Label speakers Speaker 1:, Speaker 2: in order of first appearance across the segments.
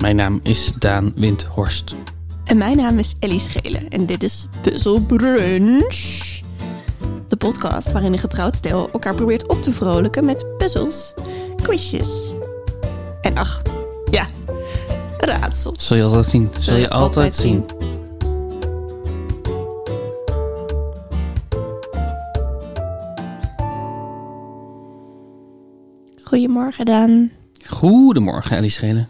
Speaker 1: Mijn naam is Daan Windhorst.
Speaker 2: En mijn naam is Ellie Schelen en dit is Puzzle Brunch. De podcast waarin een getrouwd stel elkaar probeert op te vrolijken met puzzels, quizjes en ach, ja, raadsels.
Speaker 1: Zul je altijd zien. Zul je altijd zien.
Speaker 2: Goedemorgen Daan.
Speaker 1: Goedemorgen, Ellie Schelen.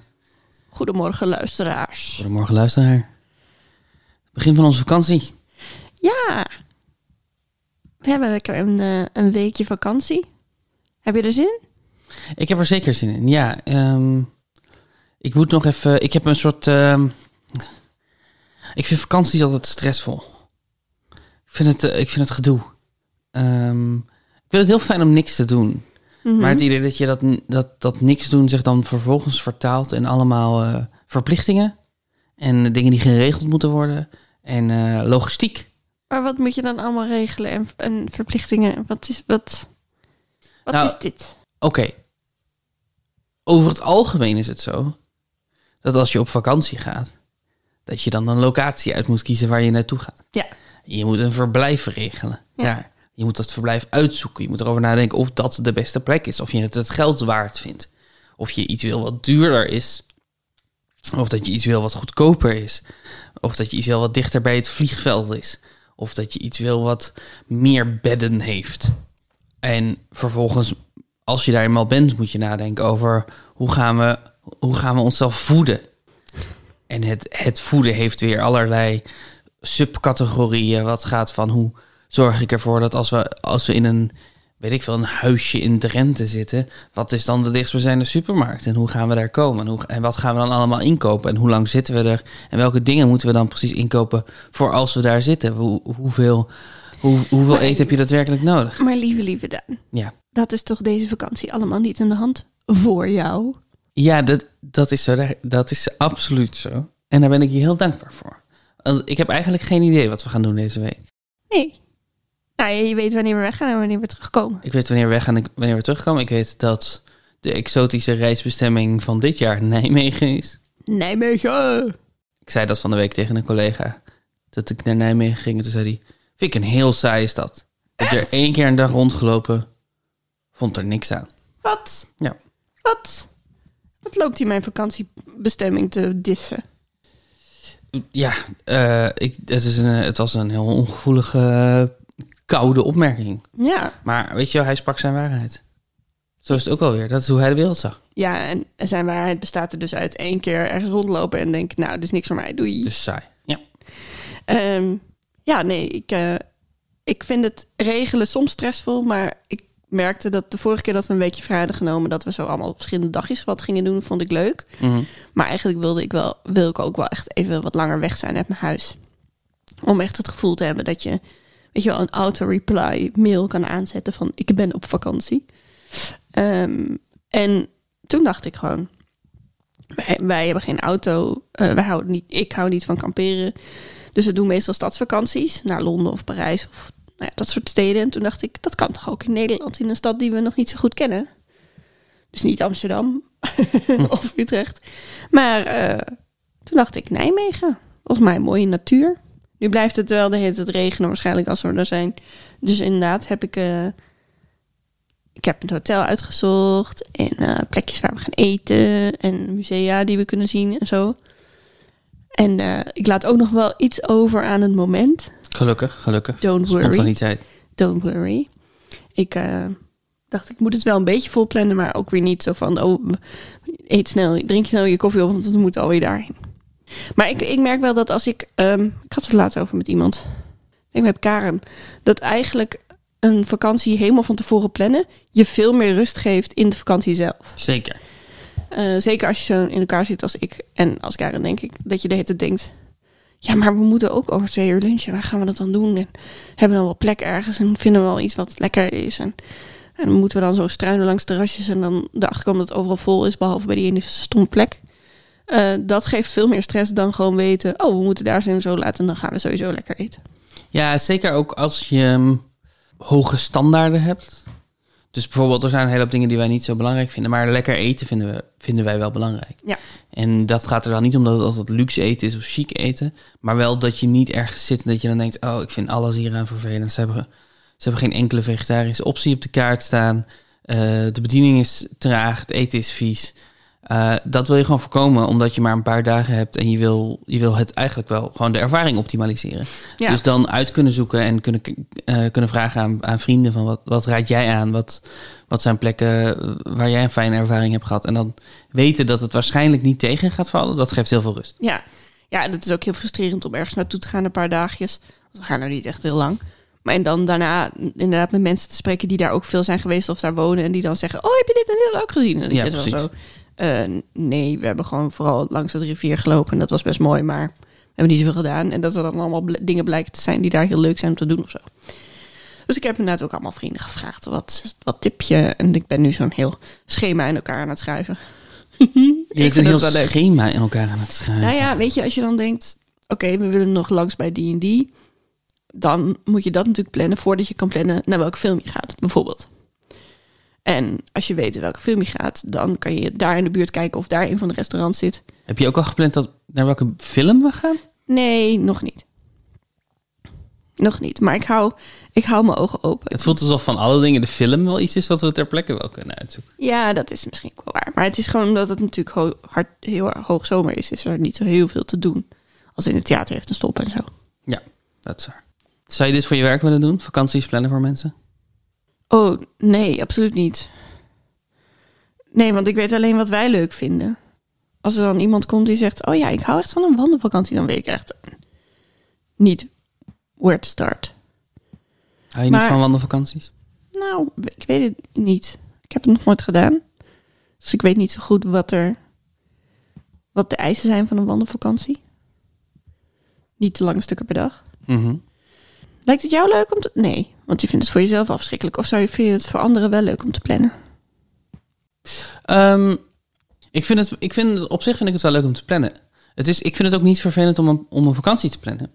Speaker 2: Goedemorgen luisteraars.
Speaker 1: Goedemorgen, luisteraar. Begin van onze vakantie.
Speaker 2: Ja, we hebben lekker een, eh, een weekje vakantie. Heb je er zin in?
Speaker 1: Ik heb er zeker zin in. Ja, ehm, ik moet nog even. Ik heb een soort. ehm, ik vind vakanties altijd stressvol. Ik vind het, eh, ik vind het gedoe. Ehm, ik vind het heel fijn om niks te doen.
Speaker 2: Mhm.
Speaker 1: Maar het idee dat je dat, dat, dat niks doen zich dan vervolgens vertaalt in allemaal eh, verplichtingen. En dingen die geregeld moeten worden. En eh, logistiek.
Speaker 2: Maar wat moet je dan allemaal regelen en, en verplichtingen? Wat is, wat, wat
Speaker 1: Nou,
Speaker 2: is dit?
Speaker 1: Oké. Over het algemeen is het zo dat als je op vakantie gaat, dat je dan een locatie uit moet kiezen waar je naartoe gaat.
Speaker 2: Ja.
Speaker 1: Je moet een verblijf regelen.
Speaker 2: Ja.
Speaker 1: Ja. Je moet dat verblijf uitzoeken. Je moet erover nadenken of dat de beste plek is. Of je het het geld waard vindt. Of je iets wil wat duurder is. Of dat je iets wil wat goedkoper is. Of dat je iets wil wat dichter bij het vliegveld is. Of dat je iets wil wat meer bedden heeft. En vervolgens, als je daar eenmaal bent, moet je nadenken over hoe gaan we, hoe gaan we onszelf voeden. En het, het voeden heeft weer allerlei subcategorieën. Wat gaat van hoe zorg ik ervoor dat als we, als we in een, weet ik veel, een huisje in Drenthe zitten, wat is dan de dichtstbijzijnde supermarkt en hoe gaan we daar komen? En, hoe, en wat gaan we dan allemaal inkopen en hoe lang zitten we er? En welke dingen moeten we dan precies inkopen voor als we daar zitten? Hoe, hoeveel hoe, hoeveel
Speaker 2: Maar-
Speaker 1: eten heb je daadwerkelijk nodig?
Speaker 2: Maar lieve, lieve Daan,
Speaker 1: Ja,
Speaker 2: dat is toch deze vakantie allemaal niet aan de hand voor jou?
Speaker 1: ja dat, dat is zo. Daar- Dat is absoluut zo. En daar ben ik je heel dankbaar voor. Want ik heb eigenlijk geen idee wat we gaan doen deze week.
Speaker 2: Nee. Nou, je je weet wanneer we weggaan en wanneer we terugkomen.
Speaker 1: Ik weet wanneer we weggaan en ik- wanneer we terugkomen. Ik weet dat de exotische reisbestemming van dit jaar Nijmegen is.
Speaker 2: Nijmegen!
Speaker 1: Ik zei dat van de week tegen een collega. Dat ik naar Nijmegen ging. En toen zei hij, vind ik een heel saaie stad. Ik heb er één keer een dag rondgelopen. Vond er niks aan.
Speaker 2: Wat?
Speaker 1: Ja.
Speaker 2: Wat? Wat loopt hij mijn vakantiebestemming te dissen?
Speaker 1: Ja, eh, ik, het, is een, het was een heel ongevoelige, eh, koude opmerking.
Speaker 2: Ja.
Speaker 1: Maar weet je wel, hij sprak zijn waarheid. Zo is het ook wel weer. Dat is hoe hij de wereld zag.
Speaker 2: Ja, en zijn waarheid bestaat er dus uit één keer ergens rondlopen en denken, nou, dit is niks voor mij, doei.
Speaker 1: Dus saai. Ja.
Speaker 2: Ehm, ja, nee, ik, eh, ik vind het regelen soms stressvol, maar ik merkte dat de vorige keer dat we een weekje vrij hadden genomen, dat we zo allemaal verschillende dagjes wat gingen doen, vond ik leuk.
Speaker 1: Mhm.
Speaker 2: Maar eigenlijk wilde ik wel, wil ik ook wel echt even wat langer weg zijn uit mijn huis. Om echt het gevoel te hebben dat je, weet je wel, een auto-reply mail kan aanzetten van ik ben op vakantie. Ehm, en toen dacht ik gewoon, wij, wij hebben geen auto, eh, wij houden niet, ik hou niet van kamperen. Dus we doen meestal stadsvakanties naar Londen of Parijs of nou ja, dat soort steden. En toen dacht ik, dat kan toch ook in Nederland, in een stad die we nog niet zo goed kennen. Dus niet Amsterdam of Utrecht. Maar eh, toen dacht ik, Nijmegen. Volgens mij mooie natuur. Nu blijft het wel de hele tijd regenen waarschijnlijk als we er zijn. Dus inderdaad heb ik... eh, ik heb een hotel uitgezocht en eh, plekjes waar we gaan eten en musea die we kunnen zien en zo. En eh, ik laat ook nog wel iets over aan het moment.
Speaker 1: Gelukkig, gelukkig.
Speaker 2: Don't worry,
Speaker 1: Spontaniteit.
Speaker 2: don't worry. Ik eh, dacht, ik moet het wel een beetje volplannen, maar ook weer niet zo van... Oh, eet snel, drink snel je koffie op, want we moeten alweer daarheen. Maar ik, ik merk wel dat als ik... ehm, ik had het laatst over met iemand. Ik denk met Karen. Dat eigenlijk een vakantie helemaal van tevoren plannen... je veel meer rust geeft in de vakantie zelf.
Speaker 1: Zeker.
Speaker 2: Eh, zeker als je zo in elkaar zit als ik en als Karen, denk ik, dat je de hele tijd denkt... Ja, maar we moeten ook over twee uur lunchen. Waar gaan we dat dan doen? En hebben we dan wel plek ergens? En vinden we wel iets wat lekker is? En, en moeten we dan zo struinen langs terrasjes en dan erachter komen dat het overal vol is, behalve bij die ene stomme plek? Eh, dat geeft veel meer stress dan gewoon weten, oh, we moeten daar zijn en zo laten en dan gaan we sowieso lekker eten.
Speaker 1: Ja, zeker ook als je hm, hoge standaarden hebt. Dus bijvoorbeeld, er zijn een hele hoop dingen die wij niet zo belangrijk vinden. Maar lekker eten vinden we vinden wij wel belangrijk.
Speaker 2: Ja.
Speaker 1: En dat gaat er dan niet om dat het altijd luxe eten is of chic eten. Maar wel dat je niet ergens zit en dat je dan denkt... oh, ik vind alles hieraan vervelend. Ze hebben, ze hebben geen enkele vegetarische optie op de kaart staan. Eh, de bediening is traag, het eten is vies. Eh, dat wil je gewoon voorkomen omdat je maar een paar dagen hebt... en je wil, je wil het eigenlijk wel gewoon de ervaring optimaliseren.
Speaker 2: Ja.
Speaker 1: Dus dan uit kunnen zoeken en kunnen, k- eh, kunnen vragen aan, aan vrienden van wat, wat raad jij aan? Wat, wat zijn plekken waar jij een fijne ervaring hebt gehad? En dan weten dat het waarschijnlijk niet tegen gaat vallen, dat geeft heel veel rust.
Speaker 2: Ja. ja, dat is ook heel frustrerend om ergens naartoe te gaan een paar dagjes. Want we gaan nou niet echt heel lang. Maar en dan daarna inderdaad met mensen te spreken die daar ook veel zijn geweest of daar wonen. En die dan zeggen, oh heb je dit en dit ook gezien? En dan
Speaker 1: Ja,
Speaker 2: is wel
Speaker 1: precies.
Speaker 2: zo. eh, nee, we hebben gewoon vooral langs het rivier gelopen. En dat was best mooi, maar we hebben niet zoveel gedaan. En dat er dan allemaal bl- dingen blijken te zijn die daar heel leuk zijn om te doen of zo. Dus ik heb inderdaad ook allemaal vrienden gevraagd. Wat, wat tip je? En ik ben nu zo'n heel schema in elkaar aan het schrijven.
Speaker 1: Je
Speaker 2: vind
Speaker 1: hebt een heel
Speaker 2: het wel leuk.
Speaker 1: schema in elkaar aan het schuiven.
Speaker 2: Nou ja, weet je, als je dan denkt, oké, we willen nog langs bij die en die, dan moet je dat natuurlijk plannen voordat je kan plannen naar welke film je gaat, bijvoorbeeld. En als je weet welke film je gaat, dan kan je daar in de buurt kijken of daar een van de restaurants zit.
Speaker 1: Heb je ook al gepland dat, naar welke film we gaan?
Speaker 2: Nee, nog niet. Nog niet, maar ik hou, ik hou mijn ogen open.
Speaker 1: Het voelt alsof van alle dingen de film wel iets is wat we ter plekke wel kunnen uitzoeken.
Speaker 2: Ja, dat is misschien ook wel waar. Maar het is gewoon omdat het natuurlijk ho- hard, heel erg hoog zomer is, is er niet zo heel veel te doen. Als in het theater heeft een stop en zo.
Speaker 1: Ja, dat is waar. Zou je dit voor je werk willen doen? Vakanties plannen voor mensen?
Speaker 2: Oh, nee, absoluut niet. Nee, want ik weet alleen wat wij leuk vinden. Als er dan iemand komt die zegt: Oh ja, ik hou echt van een wandelvakantie, dan weet ik echt niet where to start.
Speaker 1: Hou je
Speaker 2: Maar-
Speaker 1: niet van wandelvakanties?
Speaker 2: Nou, ik weet het niet. Ik heb het nog nooit gedaan. Dus ik weet niet zo goed wat er. wat de eisen zijn van een wandelvakantie. Niet te lange stukken per dag.
Speaker 1: Mhm.
Speaker 2: Lijkt het jou leuk om te. Nee, want je vindt het voor jezelf afschrikkelijk. Of zou je, vind je het voor anderen wel leuk om te plannen?
Speaker 1: Ehm, ik vind het, ik vind, op zich vind ik het wel leuk om te plannen. Het is, ik vind het ook niet vervelend om een, om een vakantie te plannen.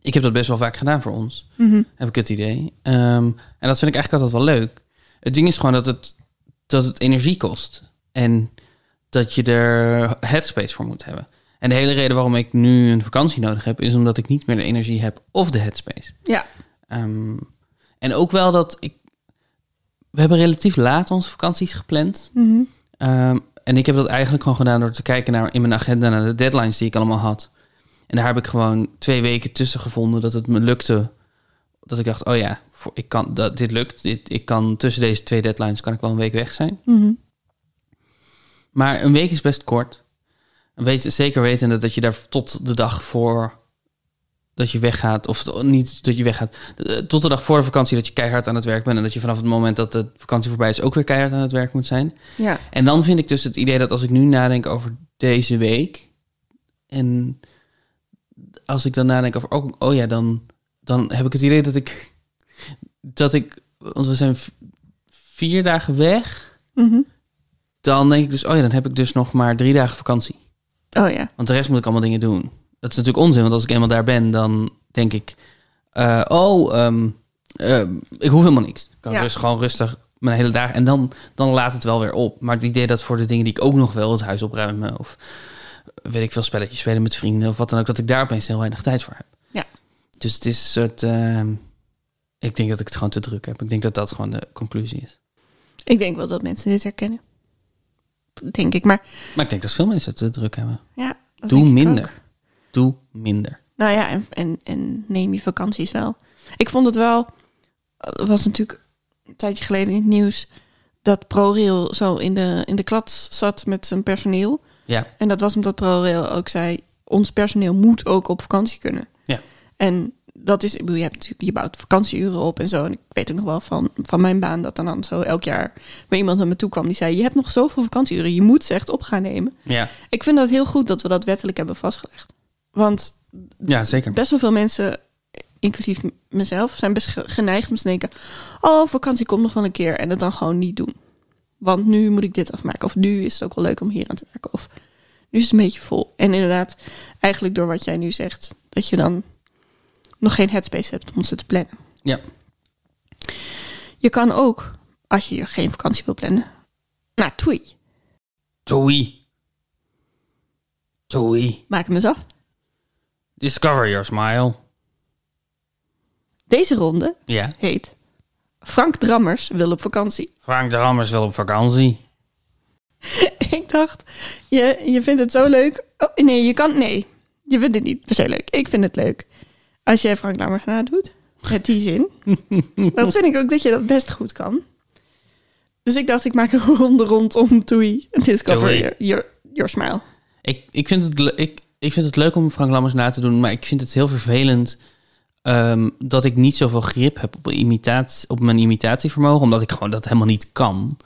Speaker 1: Ik heb dat best wel vaak gedaan voor ons, heb ik het idee. Ehm, en dat vind ik eigenlijk altijd wel leuk. Het ding is gewoon dat het, dat het energie kost. En dat je er headspace voor moet hebben. En de hele reden waarom ik nu een vakantie nodig heb, is omdat ik niet meer de energie heb of de headspace.
Speaker 2: Ja.
Speaker 1: Ehm, en ook wel dat ik. We hebben relatief laat onze vakanties gepland. Ehm, en ik heb dat eigenlijk gewoon gedaan door te kijken naar, in mijn agenda naar de deadlines die ik allemaal had. En daar heb ik gewoon twee weken tussen gevonden dat het me lukte. Dat ik dacht, oh ja, voor- ik kan, dat, dit lukt. Dit, ik kan tussen deze twee deadlines kan ik wel een week weg zijn.
Speaker 2: Mhm.
Speaker 1: Maar een week is best kort. En Weet, zeker wetende dat je daar tot de dag voor dat je weggaat, of t- niet dat je weggaat, eh, tot de dag voor de vakantie dat je keihard aan het werk bent en dat je vanaf het moment dat de vakantie voorbij is ook weer keihard aan het werk moet zijn.
Speaker 2: Ja.
Speaker 1: En dan vind ik dus het idee dat als ik nu nadenk over deze week. En als ik dan nadenk over, oh, oh ja, dan, dan heb ik het idee dat ik, dat ik, want we zijn v- vier dagen weg.
Speaker 2: Mhm.
Speaker 1: Dan denk ik dus, oh ja, dan heb ik dus nog maar drie dagen vakantie.
Speaker 2: Oh ja.
Speaker 1: Want de rest moet ik allemaal dingen doen. Dat is natuurlijk onzin, want als ik eenmaal daar ben, dan denk ik... eh, oh, ehm, ehm, ik hoef helemaal niks. Ik kan
Speaker 2: Ja.
Speaker 1: rust, gewoon rustig mijn hele dag... En dan, dan laat het wel weer op. Maar het idee dat voor de dingen die ik ook nog wil... het huis opruimen of weet ik veel, spelletjes spelen met vrienden... of wat dan ook, dat ik daar opeens heel weinig tijd voor heb.
Speaker 2: Ja.
Speaker 1: Dus het is een soort... ehm, ik denk dat ik het gewoon te druk heb. Ik denk dat dat gewoon de conclusie is.
Speaker 2: Ik denk wel dat mensen dit herkennen. Denk ik, maar
Speaker 1: Maar ik denk dat veel mensen het te druk hebben.
Speaker 2: ja. dat
Speaker 1: Doe
Speaker 2: denk ik
Speaker 1: minder.
Speaker 2: ook.
Speaker 1: Doe minder.
Speaker 2: Nou ja, en, en, en neem je vakanties wel. Ik vond het wel, er was natuurlijk een tijdje geleden in het nieuws, dat ProRail zo in de, in de klats zat met zijn personeel.
Speaker 1: Ja,
Speaker 2: En dat was omdat ProRail ook zei, ons personeel moet ook op vakantie kunnen.
Speaker 1: ja.
Speaker 2: En dat is, ik bedoel, je, hebt natuurlijk, je bouwt vakantieuren op en zo. En ik weet ook nog wel van, van mijn baan dat dan, dan zo elk jaar weer iemand naar me toe kwam die zei: Je hebt nog zoveel vakantieuren, je moet ze echt op gaan nemen.
Speaker 1: Ja,
Speaker 2: Ik vind dat heel goed dat we dat wettelijk hebben vastgelegd. Want
Speaker 1: ja zeker.
Speaker 2: best wel veel mensen, inclusief m- mezelf, zijn best ge- geneigd om te denken: Oh, vakantie komt nog wel een keer. En het dan gewoon niet doen. Want nu moet ik dit afmaken. Of nu is het ook wel leuk om hier aan te werken. Of nu is het een beetje vol. En inderdaad, eigenlijk door wat jij nu zegt, dat je dan nog geen headspace hebt om ze te plannen.
Speaker 1: Ja.
Speaker 2: Je kan ook, als je geen vakantie wil plannen, naar Tui.
Speaker 1: Joey. Joey.
Speaker 2: Maak hem eens af.
Speaker 1: Discover your smile.
Speaker 2: Deze ronde
Speaker 1: Ja.
Speaker 2: heet Frank Drammers wil op vakantie.
Speaker 1: Frank de Rammers wil op vakantie.
Speaker 2: ik dacht, je, je vindt het zo leuk. Oh, nee, je kan, nee. Je vindt het niet per se leuk. Ik vind het leuk. Als jij Frank Lammers nadoet, met die zin. dat vind ik ook dat je dat best goed kan. Dus ik dacht, ik maak een ronde rondom Toei. Discover
Speaker 1: Toei.
Speaker 2: your, your, your smile.
Speaker 1: Ik, ik, vind het, le- ik, ik vind het leuk om Frank Lammers na te doen, maar ik vind het heel vervelend ehm, dat ik niet zoveel grip heb op, imitatie, op mijn imitatievermogen, omdat ik gewoon dat helemaal niet kan.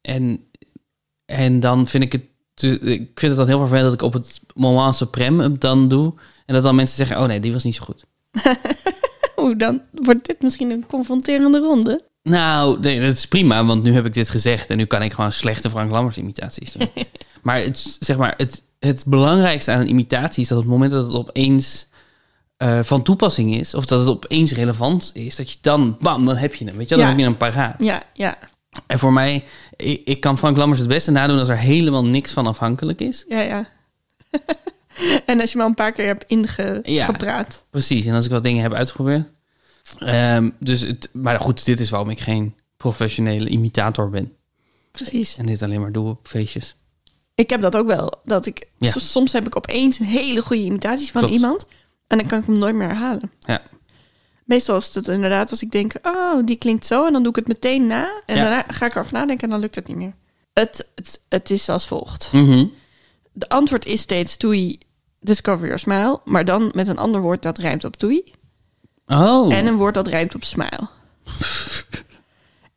Speaker 1: En, en dan vind ik het. te- ik vind het dan heel vervelend dat ik op het moment supreme het dan doe. En dat dan mensen zeggen: Oh nee, die was niet zo goed.
Speaker 2: Oeh, Oh, dan wordt dit misschien een confronterende ronde.
Speaker 1: Nou, nee, dat is prima, want nu heb ik dit gezegd en nu kan ik gewoon slechte Frank Lammers imitaties doen. maar het, is- zeg maar, het, het belangrijkste aan een imitatie is dat op het moment dat het opeens eh, van toepassing is, of dat het opeens relevant is, dat je dan, bam, dan heb je hem. Weet je, wel, dan
Speaker 2: Ja.
Speaker 1: heb je hem paraat.
Speaker 2: Ja, ja.
Speaker 1: En voor mij, ik, ik kan Frank Lammers het beste nadoen als er helemaal niks van afhankelijk is.
Speaker 2: Ja, ja. en als je me al een paar keer hebt
Speaker 1: Ja.
Speaker 2: ingepraat.
Speaker 1: Precies, en als ik wat dingen heb uitgeprobeerd. Ehm, dus het, maar goed, dit is waarom ik geen professionele imitator ben.
Speaker 2: Precies.
Speaker 1: En dit alleen maar doe op feestjes.
Speaker 2: Ik heb dat ook wel. Dat ik,
Speaker 1: Ja.
Speaker 2: s- Soms heb ik opeens een hele goede imitatie van
Speaker 1: Klopt.
Speaker 2: iemand. En dan kan ik hem nooit meer herhalen.
Speaker 1: Ja.
Speaker 2: Meestal is het inderdaad als ik denk, oh, die klinkt zo. En dan doe ik het meteen na. En
Speaker 1: Ja.
Speaker 2: daarna ga ik erover nadenken en dan lukt het niet meer. Het, het, het is als volgt.
Speaker 1: Mhm.
Speaker 2: De antwoord is steeds toei, discover your smile. Maar dan met een ander woord dat rijmt op toei.
Speaker 1: Oh.
Speaker 2: En een woord dat rijmt op smile.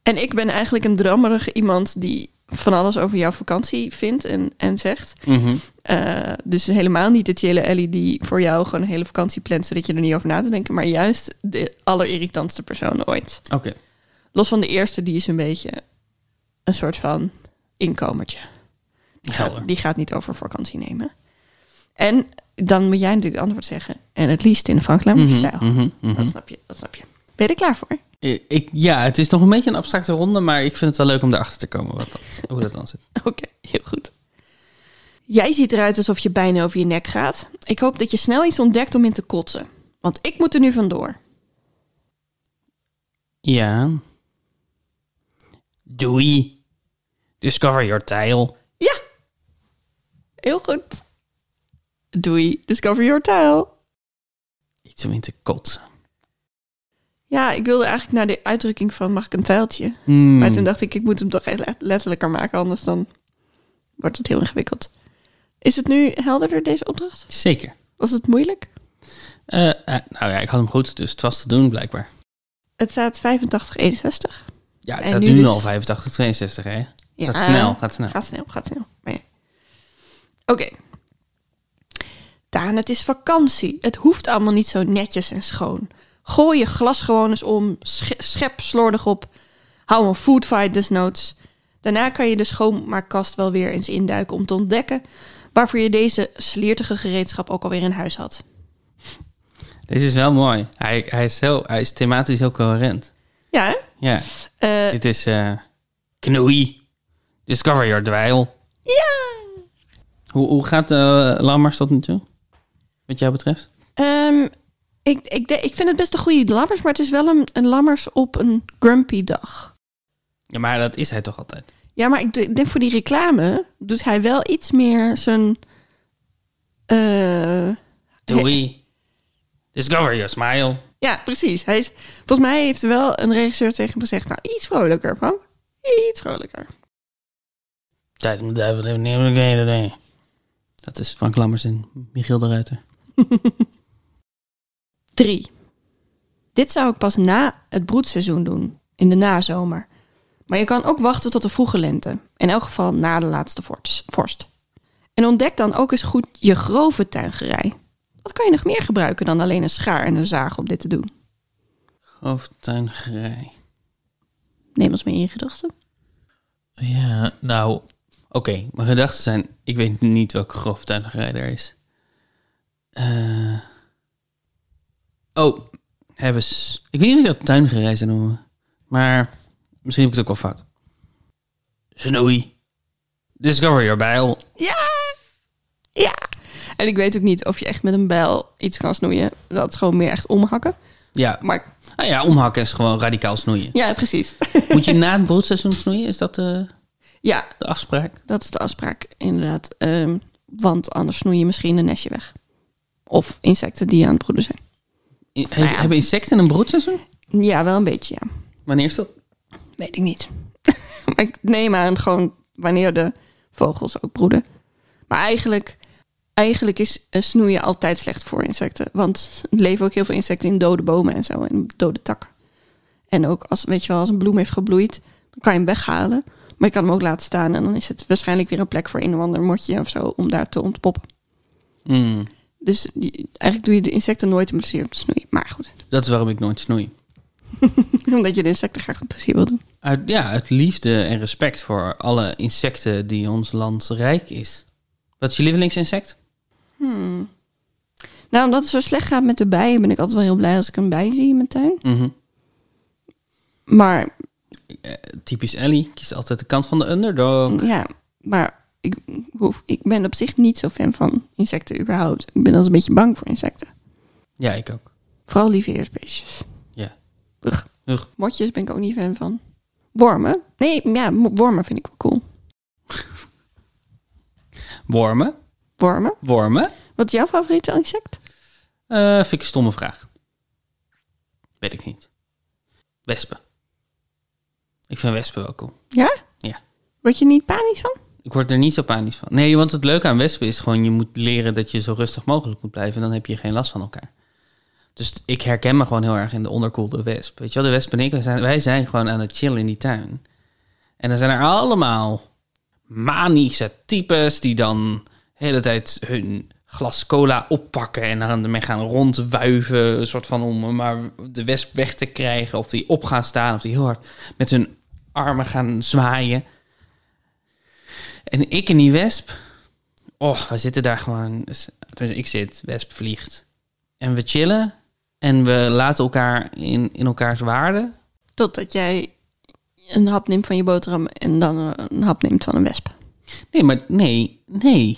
Speaker 2: en ik ben eigenlijk een drammerige iemand die van alles over jouw vakantie vindt en, en zegt.
Speaker 1: Mhm.
Speaker 2: Eh, dus helemaal niet de chille Ellie die voor jou gewoon een hele vakantie plant... zodat je er niet over na te denken. Maar juist de allerirritantste persoon ooit.
Speaker 1: Oké.
Speaker 2: Los van de eerste, die is een beetje een soort van inkomertje. Die
Speaker 1: Helder.
Speaker 2: gaat, die gaat niet over vakantie nemen. En dan moet jij natuurlijk het antwoord zeggen. En het liefst in Frank Lammers-stijl.
Speaker 1: Mhm, mhm.
Speaker 2: Dat snap je, dat snap je. Ben je er klaar voor?
Speaker 1: Ik, ik- ja, het is nog een beetje een abstracte ronde, maar ik vind het wel leuk om erachter te komen wat dat, hoe dat dan zit.
Speaker 2: Oké, heel goed. Jij ziet eruit alsof je bijna over je nek gaat. Ik hoop dat je snel iets ontdekt om in te kotsen. Want ik moet er nu vandoor.
Speaker 1: Ja. Doei. Discover your tail.
Speaker 2: Ja! Heel goed. Doei, discover your tail.
Speaker 1: Iets om in te kotsen.
Speaker 2: Ja, ik wilde eigenlijk naar de uitdrukking van mag ik een tijltje?
Speaker 1: Hmm.
Speaker 2: Maar toen dacht ik, ik moet hem toch echt let- letterlijker maken, anders dan wordt het heel ingewikkeld. Is het nu helderder, deze opdracht?
Speaker 1: Zeker.
Speaker 2: Was het moeilijk?
Speaker 1: Eh, eh, nou ja, ik had hem goed, dus het was te doen blijkbaar.
Speaker 2: Het staat 8561.
Speaker 1: Ja, het
Speaker 2: En
Speaker 1: staat
Speaker 2: nu
Speaker 1: nu,
Speaker 2: dus-
Speaker 1: al 85, 62 hè.
Speaker 2: Ja.
Speaker 1: Gaat snel, gaat snel.
Speaker 2: Gaat snel, gaat snel. Maar ja. Oké. Daan, het is vakantie. Het hoeft allemaal niet zo netjes en schoon. Gooi je glas gewoon eens om. sche- Schep slordig op. Hou een food fight desnoods. Daarna kan je de schoonmaakkast wel weer eens induiken om te ontdekken... waarvoor je deze sliertige gereedschap ook alweer in huis had.
Speaker 1: Deze is wel mooi. Hij, hij, is, heel, hij is thematisch heel coherent.
Speaker 2: Ja, hè?
Speaker 1: Ja,
Speaker 2: Eh,
Speaker 1: dit is eh knoei. Discover your dweil.
Speaker 2: ja!
Speaker 1: Hoe, hoe gaat eh Lammers tot nu toe? Wat jou betreft?
Speaker 2: Ehm, ik, ik, de- ik vind het best een goede lammers, maar het is wel een, een lammers op een grumpy dag.
Speaker 1: Ja, maar dat is hij toch altijd?
Speaker 2: Ja, maar ik d- denk voor die reclame doet hij wel iets meer zijn. eh,
Speaker 1: Doei. Discover your smile.
Speaker 2: ja, precies. Hij is, volgens mij heeft wel een regisseur tegen hem gezegd: Nou, iets vrolijker, Frank. Iets vrolijker.
Speaker 1: Tijd om de duivel even nemen. nee, nee, nee. Dat is Frank Lammers en Michiel de Ruiter.
Speaker 2: Drie. Dit zou ik pas na het broedseizoen doen, in de nazomer. Maar je kan ook wachten tot de vroege lente, in elk geval na de laatste vorts- vorst. En ontdek dan ook eens goed je grove tuigerij. Wat kan je nog meer gebruiken dan alleen een schaar en een zaag om dit te doen?
Speaker 1: Hoofdtuingerij.
Speaker 2: Neem ons mee in je gedachten.
Speaker 1: Ja, nou... Oké, mijn gedachten zijn... Ik weet niet welke groftuingerij er is. Eh oh, hebben ze... Ik weet niet of ik dat tuingerij zou noemen. Maar misschien heb ik het ook wel fout. Snoei. Discover your bijl.
Speaker 2: Ja! Ja! En ik weet ook niet of je echt met een bijl iets kan snoeien. Dat is gewoon meer echt omhakken.
Speaker 1: Ja.
Speaker 2: Maar
Speaker 1: Nou ja, omhakken is gewoon radicaal snoeien.
Speaker 2: ja, precies.
Speaker 1: Moet je na het broedseizoen snoeien? Is dat de,
Speaker 2: ja,
Speaker 1: de afspraak?
Speaker 2: dat is de afspraak inderdaad. Ehm, want anders snoei je misschien een nestje weg. Of insecten die aan het broeden zijn.
Speaker 1: I- heeft-
Speaker 2: ja.
Speaker 1: Hebben insecten een broedseizoen?
Speaker 2: Ja, wel een beetje, ja.
Speaker 1: Wanneer is dat?
Speaker 2: Weet ik niet. maar ik neem aan gewoon wanneer de vogels ook broeden. Maar eigenlijk, eigenlijk is eh, snoeien altijd slecht voor insecten. Want er leven ook heel veel insecten in dode bomen en zo. En dode takken. En ook als, weet je wel, als een bloem heeft gebloeid, dan kan je hem weghalen. Maar je kan hem ook laten staan. En dan is het waarschijnlijk weer een plek voor een of ander motje of zo om daar te ontpoppen.
Speaker 1: Hmm,
Speaker 2: Dus die- eigenlijk doe je de insecten nooit een plezier om te snoeien. Maar goed,
Speaker 1: dat is waarom ik nooit snoei.
Speaker 2: omdat je de insecten graag een plezier wil doen.
Speaker 1: Uit, ja, uit liefde en respect voor alle insecten die ons land rijk is. Wat is je lievelingsinsect?
Speaker 2: Nou, omdat het zo slecht gaat met de bijen, ben ik altijd wel heel blij als ik een bij zie in mijn tuin.
Speaker 1: Mhm.
Speaker 2: Maar
Speaker 1: Typisch Ellie, kiest altijd de kant van de underdog.
Speaker 2: ja, maar ik, hoef, ik ben op zich niet zo fan van insecten überhaupt. Ik ben altijd een beetje bang voor insecten.
Speaker 1: Ja, ik ook.
Speaker 2: Vooral lieve heersbeestjes.
Speaker 1: Ja.
Speaker 2: Ugh.
Speaker 1: Ugh.
Speaker 2: Motjes ben ik ook niet fan van. Wormen? Nee, ja, mo- wormen vind ik wel cool.
Speaker 1: Wormen?
Speaker 2: Wormen?
Speaker 1: Wormen?
Speaker 2: Wat is jouw favoriete insect?
Speaker 1: Eh, vind ik een stomme vraag. Weet ik niet. Wespen. Ik vind wespen wel cool.
Speaker 2: Ja?
Speaker 1: Ja.
Speaker 2: Word je niet panisch van?
Speaker 1: Ik word er niet zo panisch van. Nee, want het leuke aan wespen is gewoon... je moet leren dat je zo rustig mogelijk moet blijven... en dan heb je geen last van elkaar. Dus ik herken me gewoon heel erg in de onderkoelde wesp. Weet je wel, de wesp en ik, wij zijn, wij zijn gewoon aan het chillen in die tuin. En dan zijn er allemaal manische types... die dan de hele tijd hun glas cola oppakken... en dan ermee gaan rondwuiven, een soort van om maar de wesp weg te krijgen... of die op gaan staan, of die heel hard met hun armen gaan zwaaien... En ik en die wesp. Och, we zitten daar gewoon. dus- Tenminste, ik zit, wesp vliegt. En we chillen. En we laten elkaar in, in elkaars waarde.
Speaker 2: Totdat jij een hap neemt van je boterham en dan een hap neemt van een wesp.
Speaker 1: Nee, maar nee, nee.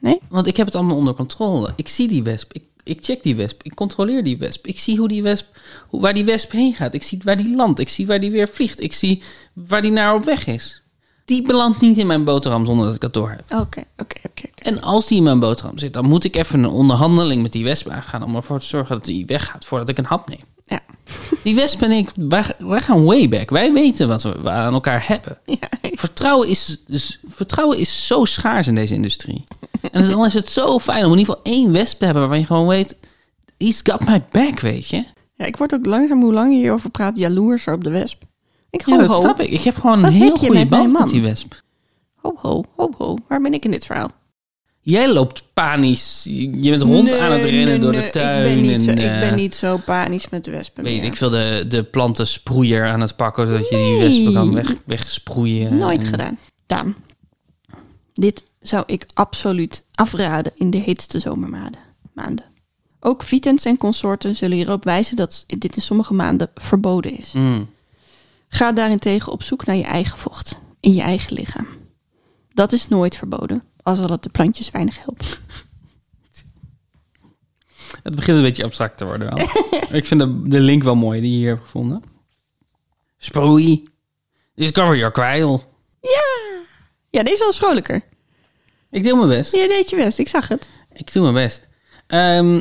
Speaker 2: Nee?
Speaker 1: Want ik heb het allemaal onder controle. Ik zie die wesp. Ik, ik check die wesp. Ik controleer die wesp. Ik zie hoe die wesp, hoe, waar die wesp heen gaat. Ik zie waar die landt. Ik zie waar die weer vliegt. Ik zie waar die naar op weg is. Die belandt niet in mijn boterham zonder dat ik dat door heb.
Speaker 2: Oké, oké, oké. oké.
Speaker 1: En als die in mijn boterham zit, dan moet ik even een onderhandeling met die wesp aangaan. Om ervoor te zorgen dat die weggaat voordat ik een hap neem.
Speaker 2: Ja.
Speaker 1: Die wesp en ik, wij, wij gaan way back. Wij weten wat we aan elkaar hebben.
Speaker 2: ja.
Speaker 1: Vertrouwen is, dus, vertrouwen is zo schaars in deze industrie. En dan is het zo fijn om in ieder geval één wesp te hebben waarvan je gewoon weet... He's got my back, weet je?
Speaker 2: Ja, ik word ook langzaam, hoe langer je hierover praat, jaloerser op de wesp. Ik ho,
Speaker 1: Ja, dat
Speaker 2: ho,
Speaker 1: snap ik. Ik heb gewoon
Speaker 2: Wat
Speaker 1: een heel
Speaker 2: heb je
Speaker 1: goede
Speaker 2: met mijn
Speaker 1: band met
Speaker 2: man?
Speaker 1: die wesp.
Speaker 2: ho, ho, ho, ho. Waar ben ik in dit verhaal?
Speaker 1: Jij loopt panisch. Je bent rond aan het
Speaker 2: Nee,
Speaker 1: rennen
Speaker 2: nee,
Speaker 1: door
Speaker 2: nee,
Speaker 1: de tuin.
Speaker 2: Ik ben niet, zo,
Speaker 1: en,
Speaker 2: ik
Speaker 1: eh,
Speaker 2: ben niet zo panisch met de wespen
Speaker 1: Weet
Speaker 2: meer.
Speaker 1: ik veel, de, de plantensproeier aan het pakken, zodat je die wespen kan weg, wegsproeien. Mm.
Speaker 2: Nooit
Speaker 1: En-
Speaker 2: gedaan. Daan, dit zou ik absoluut afraden in de heetste zomermaanden. Maanden. Ook Vitens en consorten zullen hierop wijzen dat dit in sommige maanden verboden is.
Speaker 1: Mm.
Speaker 2: Ga daarentegen op zoek naar je eigen vocht in je eigen lichaam. Dat is nooit verboden, als al het de plantjes weinig helpt.
Speaker 1: Het begint een beetje abstract te worden wel. ik vind de, de link wel mooi die je hier hebt gevonden. Sproei. Discover your kwijl.
Speaker 2: Ja, deze was vrolijker.
Speaker 1: Ik doe mijn best.
Speaker 2: Je deed je best, ik zag het.
Speaker 1: Ik doe mijn best. Ehm,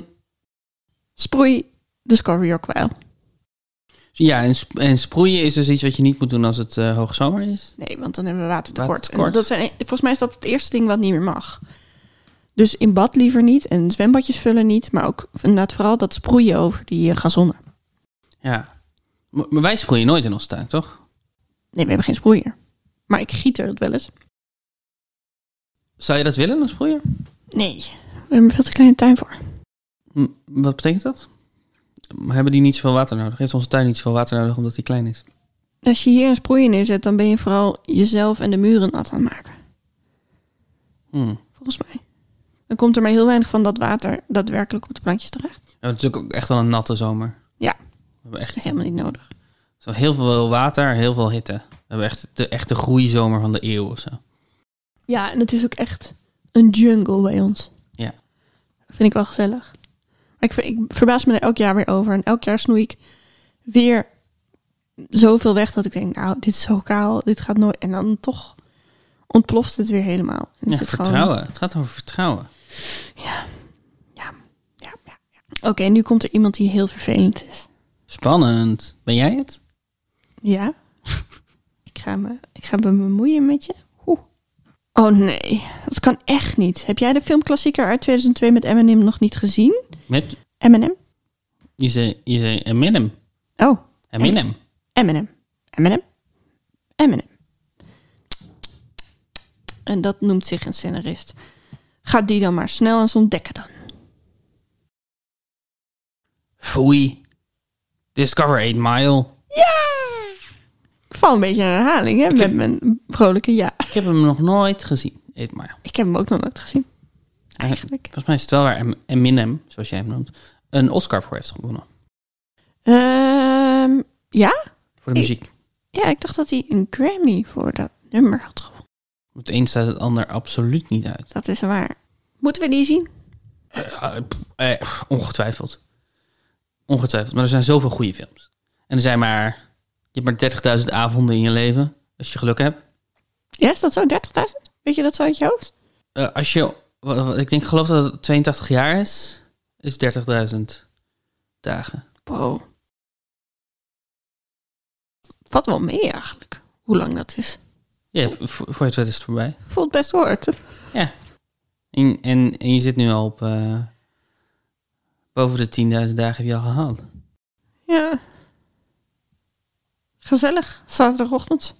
Speaker 2: Sproei, discover your kwijl.
Speaker 1: ja, en, sp- en sproeien is dus iets wat je niet moet doen als het eh, hoogzomer is.
Speaker 2: Nee, want dan hebben we watertekort.
Speaker 1: Watertekort.
Speaker 2: En Dat zijn, e- volgens mij is dat het eerste ding wat niet meer mag. Dus in bad liever niet en zwembadjes vullen niet. Maar ook inderdaad vooral dat sproeien over die eh, gazonnen.
Speaker 1: Ja. Maar maar wij sproeien nooit in onze tuin, toch?
Speaker 2: Nee, we hebben geen sproeier. Maar ik giet er het wel eens.
Speaker 1: Zou je dat willen, een sproeier?
Speaker 2: Nee, we hebben er veel te kleine tuin voor.
Speaker 1: M- Wat betekent dat? Hebben die niet zoveel water nodig? Heeft onze tuin niet zoveel water nodig omdat die klein is?
Speaker 2: Als je hier een sproeier neerzet, dan ben je vooral jezelf en de muren nat aan het maken.
Speaker 1: Hmm.
Speaker 2: Volgens mij. Dan komt er maar heel weinig van dat water daadwerkelijk op de plantjes terecht.
Speaker 1: We hebben natuurlijk ook echt wel een natte zomer.
Speaker 2: Ja.
Speaker 1: We hebben
Speaker 2: Dat
Speaker 1: echt
Speaker 2: is helemaal niet nodig.
Speaker 1: zo heel veel water, heel veel hitte. We hebben echt de echte groeizomer van de eeuw of zo.
Speaker 2: Ja, en het is ook echt een jungle bij ons.
Speaker 1: Ja.
Speaker 2: Vind ik wel gezellig. Maar ik, ver- ik verbaas me er elk jaar weer over. En elk jaar snoei ik weer zoveel weg dat ik denk, nou, dit is zo kaal, dit gaat nooit. En dan toch ontploft het weer helemaal. En is
Speaker 1: Ja,
Speaker 2: het
Speaker 1: vertrouwen. Het gaat over vertrouwen.
Speaker 2: Ja, ja, ja. Oké, nu komt er iemand die heel vervelend is.
Speaker 1: Spannend. Ben jij het?
Speaker 2: Ja? ik, ga me, ik ga me bemoeien met je. Oeh. Oh nee, dat kan echt niet. Heb jij de filmklassieker uit 2002 met Eminem nog niet gezien?
Speaker 1: Met,
Speaker 2: Eminem?
Speaker 1: je zei, je zei Eminem.
Speaker 2: Oh,
Speaker 1: Eminem.
Speaker 2: Eminem. Eminem. Eminem. En dat noemt zich een scenarist. Ga die dan maar snel eens ontdekken dan.
Speaker 1: Foei. Discover 8 Mile.
Speaker 2: Ik val een beetje in herhaling, hè, met mijn vrolijke ja.
Speaker 1: Ik heb hem nog nooit gezien. 8 Mile.
Speaker 2: Ik heb hem ook nog nooit gezien, eigenlijk.
Speaker 1: Volgens mij is het wel waar Em- Eminem, zoals jij hem noemt, een Oscar voor heeft gewonnen.
Speaker 2: Ehm, ja?
Speaker 1: Voor de
Speaker 2: Ik-
Speaker 1: muziek.
Speaker 2: Ja, ik dacht dat hij een Grammy voor dat nummer had gewonnen.
Speaker 1: Het een staat het ander absoluut niet uit.
Speaker 2: Dat is waar. Moeten we die zien?
Speaker 1: Eh, eh, pff, eh, ongetwijfeld. Ongetwijfeld. Maar er zijn zoveel goede films. En er zijn maar... Je hebt maar 30.000 avonden in je leven. Als je geluk hebt.
Speaker 2: Ja, is dat zo? 30.000? Weet je dat zo uit je hoofd?
Speaker 1: Eh, als je... wat- wat- ik denk, geloof dat het 82 jaar is. Is 30.000 dagen.
Speaker 2: Wow. Valt wel mee eigenlijk, hoe lang dat is.
Speaker 1: Ja, v- v- voor je het weet is het voorbij.
Speaker 2: Voelt best hoort.
Speaker 1: En, en, en je zit nu al op... eh, boven de 10.000 dagen heb je al gehaald.
Speaker 2: Ja. Gezellig, zaterdagochtend.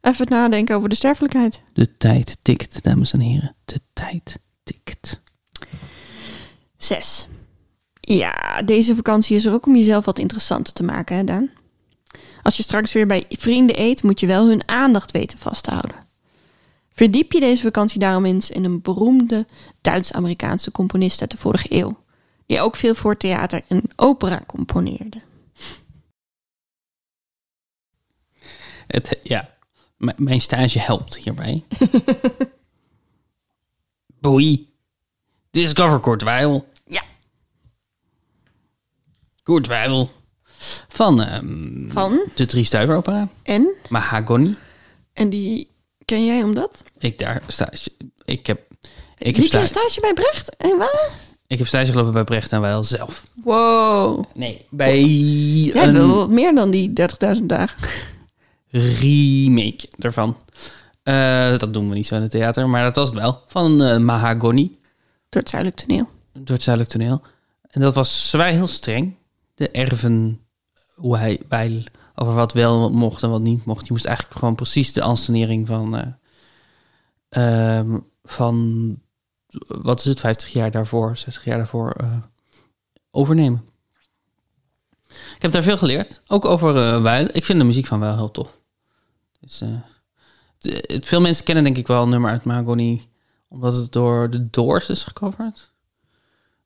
Speaker 2: Even nadenken over de sterfelijkheid.
Speaker 1: De tijd tikt, dames en heren. De tijd tikt.
Speaker 2: Zes. Ja, deze vakantie is er ook om jezelf wat interessanter te maken, hè Daan? Als je straks weer bij vrienden eet, moet je wel hun aandacht weten vast te houden. Verdiep je deze vakantie daarom eens in een beroemde Duits-Amerikaanse componist uit de vorige eeuw, die ook veel voor theater en opera componeerde.
Speaker 1: Het, ja, M- mijn stage helpt hierbij. Boei. Discover Kortwijl.
Speaker 2: Ja.
Speaker 1: Kortwijl. Van, ehm,
Speaker 2: Van
Speaker 1: de Drie Stuiveropera.
Speaker 2: en?
Speaker 1: Mahagoni.
Speaker 2: En die ken jij omdat?
Speaker 1: Ik daar stage. Ik heb, ik heb,
Speaker 2: Liep je een
Speaker 1: stage,
Speaker 2: stage bij Brecht? En waar?
Speaker 1: ik heb stage gelopen bij Brecht en Weil zelf.
Speaker 2: Wow.
Speaker 1: Nee, bij
Speaker 2: Jij
Speaker 1: een
Speaker 2: wil wat meer dan die 30.000 dagen.
Speaker 1: remake ervan. Eh, dat doen we niet zo in het theater, maar dat was het wel. Van eh, Mahagoni.
Speaker 2: Door het zuidelijk toneel.
Speaker 1: door het zuidelijk toneel. En dat was zwaar heel streng. De erven, hoe hij, wij- over wat wel wat mocht en wat niet mocht. Je moest eigenlijk gewoon precies de ansenering van, eh, ehm, van, wat is het, 50 jaar daarvoor, 60 jaar daarvoor eh, overnemen. Ik heb daar veel geleerd. Ook over eh Weil. Ik vind de muziek van Weil heel tof. Dus, eh, de- het- veel mensen kennen denk ik wel een nummer uit Mahagoni. Omdat het door de Doors is gecoverd.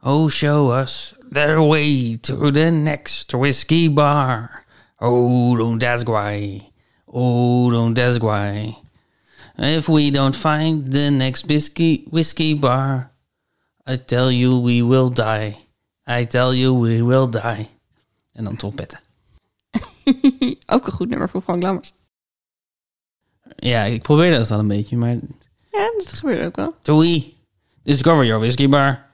Speaker 1: Oh, show us their way to the next whiskey bar. Oh, don't ask why. Oh, don't ask why. If we don't find the next whiskey, whiskey bar, I tell you we will die. I tell you we will die. En dan trompetten.
Speaker 2: Ook een goed nummer voor Frank Lammers.
Speaker 1: Ja, ik probeerde dat al een beetje, maar...
Speaker 2: Ja, dat gebeurt ook wel.
Speaker 1: Doei. Discover your whiskey bar.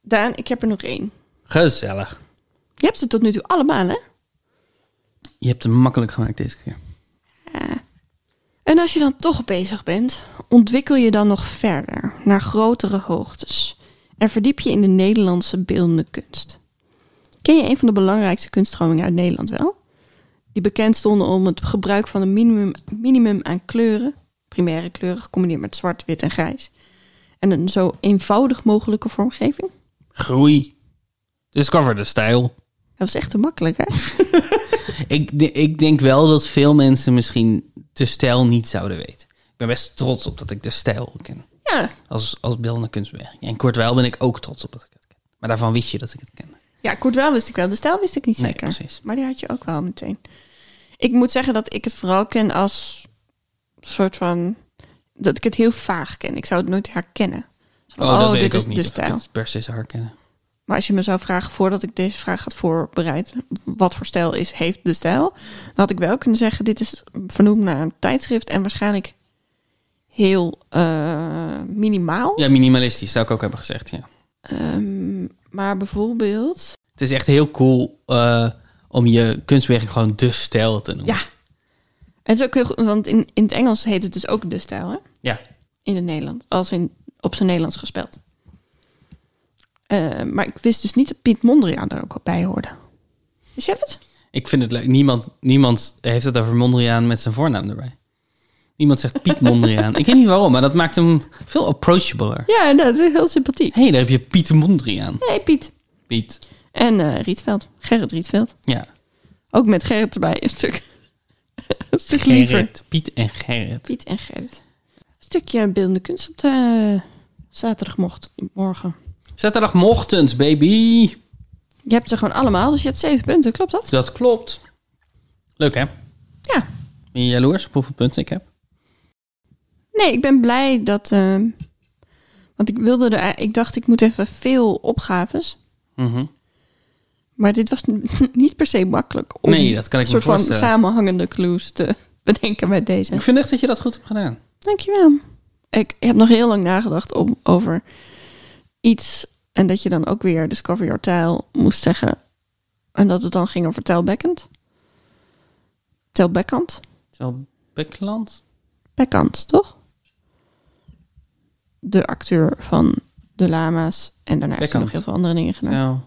Speaker 2: Daan, ik heb er nog één.
Speaker 1: Gezellig.
Speaker 2: Je hebt ze tot nu toe allemaal, hè?
Speaker 1: Je hebt hem makkelijk gemaakt deze keer.
Speaker 2: En als je dan toch bezig bent, ontwikkel je dan nog verder naar grotere hoogtes en verdiep je in de Nederlandse beeldende kunst. Ken je een van de belangrijkste kunststromingen uit Nederland wel? Die bekend stonden om het gebruik van een minimum, minimum aan kleuren, primaire kleuren gecombineerd met zwart, wit en grijs, en een zo eenvoudig mogelijke vormgeving?
Speaker 1: Groei. Discover the style.
Speaker 2: Dat was echt te makkelijk, hè?
Speaker 1: Ik, de- ik denk wel dat veel mensen misschien de stijl niet zouden weten. Ik ben best trots op dat ik de stijl ken.
Speaker 2: Ja,
Speaker 1: Als, als beeldende kunstwerk. En kortwijl ben ik ook trots op dat ik het ken. Maar daarvan wist je dat ik het kende.
Speaker 2: Ja, Courtois wist ik wel. De stijl wist ik niet
Speaker 1: Nee,
Speaker 2: zeker.
Speaker 1: precies.
Speaker 2: Maar die had je ook wel meteen. Ik moet zeggen dat ik het vooral ken als soort van... Dat ik het heel vaag ken. Ik zou het nooit herkennen. Zo,
Speaker 1: Oh, dat weet
Speaker 2: dit
Speaker 1: ik ook
Speaker 2: is
Speaker 1: niet.
Speaker 2: de
Speaker 1: of ik
Speaker 2: stijl.
Speaker 1: het per se zou herkennen.
Speaker 2: Maar als je me zou vragen voordat ik deze vraag had voorbereid, wat voor stijl is, heeft de stijl? Dan had ik wel kunnen zeggen, dit is vernoemd naar een tijdschrift en waarschijnlijk heel eh, minimaal.
Speaker 1: Ja, minimalistisch zou ik ook hebben gezegd, ja.
Speaker 2: Ehm, maar bijvoorbeeld,
Speaker 1: Het is echt heel cool eh, om je kunstbeweging gewoon de stijl te noemen.
Speaker 2: ja. Het is ook heel goed, want in, in het Engels heet het dus ook de stijl, hè?
Speaker 1: Ja.
Speaker 2: In het Nederlands, als in, op zijn Nederlands gespeld. Eh, maar ik wist dus niet dat Piet Mondriaan er ook al bij hoorde. Wist jij dat?
Speaker 1: Ik vind het leuk. Niemand, niemand heeft het over Mondriaan met zijn voornaam erbij. Niemand zegt Piet Mondriaan. ik weet niet waarom, maar dat maakt hem veel approachabler.
Speaker 2: Ja, nou, dat is heel sympathiek.
Speaker 1: Hé, hey, daar heb je Piet Mondriaan.
Speaker 2: Hey Piet.
Speaker 1: Piet.
Speaker 2: En eh, Rietveld. Gerrit Rietveld.
Speaker 1: Ja.
Speaker 2: Ook met Gerrit erbij een stuk. een stuk liever.
Speaker 1: Gerrit. Piet en Gerrit.
Speaker 2: Piet en Gerrit. Een stukje beeldende kunst op de zaterdagmorgen.
Speaker 1: Zaterdagmochtend, baby.
Speaker 2: Je hebt ze gewoon allemaal, dus je hebt zeven punten. Klopt dat?
Speaker 1: Dat klopt. Leuk, hè?
Speaker 2: Ja.
Speaker 1: Ben je jaloers op hoeveel punten ik heb?
Speaker 2: Nee, ik ben blij dat... eh, want ik wilde er... Ik dacht, ik moet even veel opgaves.
Speaker 1: Mhm.
Speaker 2: Maar dit was niet per se makkelijk om
Speaker 1: Nee, dat kan ik
Speaker 2: een
Speaker 1: me
Speaker 2: soort van
Speaker 1: voorstellen.
Speaker 2: samenhangende clues te bedenken met deze.
Speaker 1: Ik vind echt dat je dat goed hebt gedaan.
Speaker 2: Dankjewel. Ik heb nog heel lang nagedacht om, over iets. En dat je dan ook weer Discover Your Tile moest zeggen. En dat het dan ging over tijlbekkend. Tijlbekkend.
Speaker 1: Zo, Bekland?
Speaker 2: Bekkant, toch? De acteur van De Lama's. En daarna heeft hij
Speaker 1: Bekkant.
Speaker 2: nog heel veel andere dingen gedaan.
Speaker 1: Nou,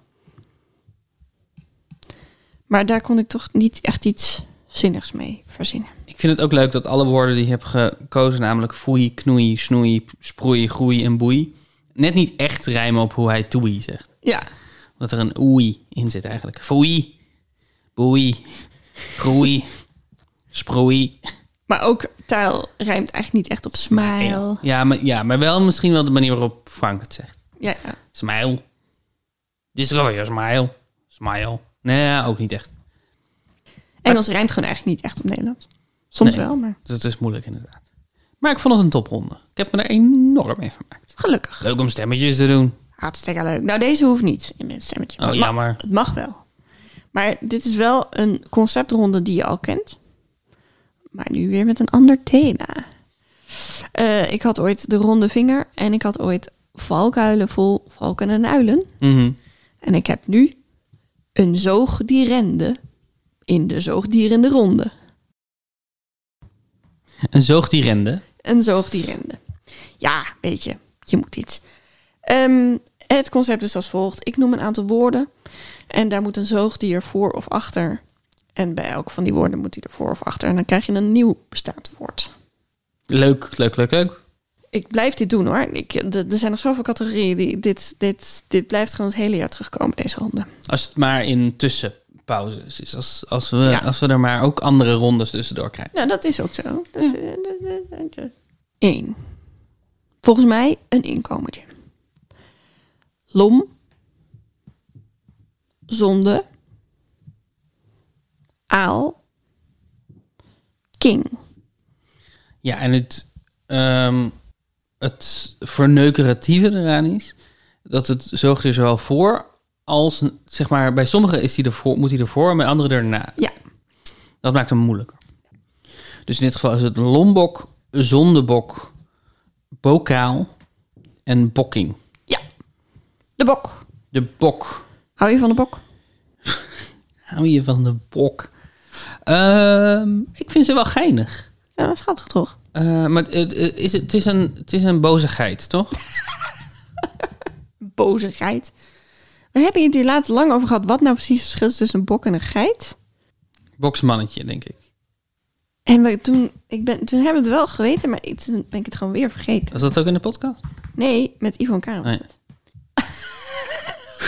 Speaker 2: Maar daar kon ik toch niet echt iets zinnigs mee verzinnen.
Speaker 1: Ik vind het ook leuk dat alle woorden die je hebt gekozen, namelijk foei, knoei, snoei, sproei, groei en boei, net niet echt rijmen op hoe hij toei zegt.
Speaker 2: Ja,
Speaker 1: Omdat er een oei in zit eigenlijk. Foei, boei, groei, sproei.
Speaker 2: maar ook tijl rijmt eigenlijk niet echt op smile.
Speaker 1: Ja maar, ja, maar wel misschien wel de manier waarop Frank het zegt.
Speaker 2: Ja, ja.
Speaker 1: Smile. Discover your smile. Smile. Nee, ook niet echt.
Speaker 2: Engels rijmt gewoon eigenlijk niet echt op Nederlands. Soms
Speaker 1: Nee.
Speaker 2: wel, maar
Speaker 1: Dus het is moeilijk inderdaad. Maar ik vond het een topronde. Ik heb me er enorm mee vermaakt.
Speaker 2: gelukkig.
Speaker 1: Leuk om stemmetjes te doen.
Speaker 2: Hartstikke leuk. Nou, deze hoeft niet in het stemmetje.
Speaker 1: Oh,
Speaker 2: Het ma-
Speaker 1: jammer.
Speaker 2: Het mag wel. Maar dit is wel een conceptronde die je al kent. Maar nu weer met een ander thema. Eh, ik had ooit de ronde vinger en ik had ooit valkuilen vol valken en uilen.
Speaker 1: Mhm.
Speaker 2: En ik heb nu een zoogdierende in de zoogdierende ronde.
Speaker 1: Een zoogdierende.
Speaker 2: Een zoogdierende. Ja, weet je, je moet iets. Ehm, het concept is als volgt. Ik noem een aantal woorden. En daar moet een zoogdier voor of achter. En bij elk van die woorden moet hij er voor of achter. En dan krijg je een nieuw bestaand woord.
Speaker 1: Leuk, leuk, leuk, leuk.
Speaker 2: Ik blijf dit doen hoor. Ik, d- er zijn nog zoveel categorieën. Die, dit, dit, dit blijft gewoon het hele jaar terugkomen, deze ronde.
Speaker 1: Als het maar in tussenpauzes is. Als, als, we,
Speaker 2: Ja.
Speaker 1: als we er maar ook andere rondes tussendoor krijgen.
Speaker 2: Nou, dat is ook zo. Dat, Eén. Volgens mij een inkomertje. Lom. Zonde. Aal. King.
Speaker 1: Ja, en het, ehm, het verneukeratieve eraan is... dat het zorgt er zowel voor als... zeg maar, bij sommigen is die ervoor, moet hij ervoor... en bij anderen erna.
Speaker 2: Ja.
Speaker 1: Dat maakt hem moeilijker. Dus in dit geval is het lombok, zondebok, bokaal en bokking.
Speaker 2: Ja. De bok.
Speaker 1: De bok...
Speaker 2: Hou je van de bok?
Speaker 1: Hou je van de bok? Ehm, ik vind ze wel geinig.
Speaker 2: Ja, schattig toch?
Speaker 1: Eh, maar het, het- het is, het, is een, het is een bozigheid, toch?
Speaker 2: Boze geit. We hebben hier later lang over gehad. Wat nou precies het verschil is tussen een bok en een geit?
Speaker 1: Boksmannetje, denk ik.
Speaker 2: En we, toen, ik ben, toen hebben we het wel geweten, maar ik- toen ben ik het gewoon weer vergeten.
Speaker 1: Was dat ook in de podcast?
Speaker 2: Nee, met Yvonne Karel.
Speaker 1: Nee.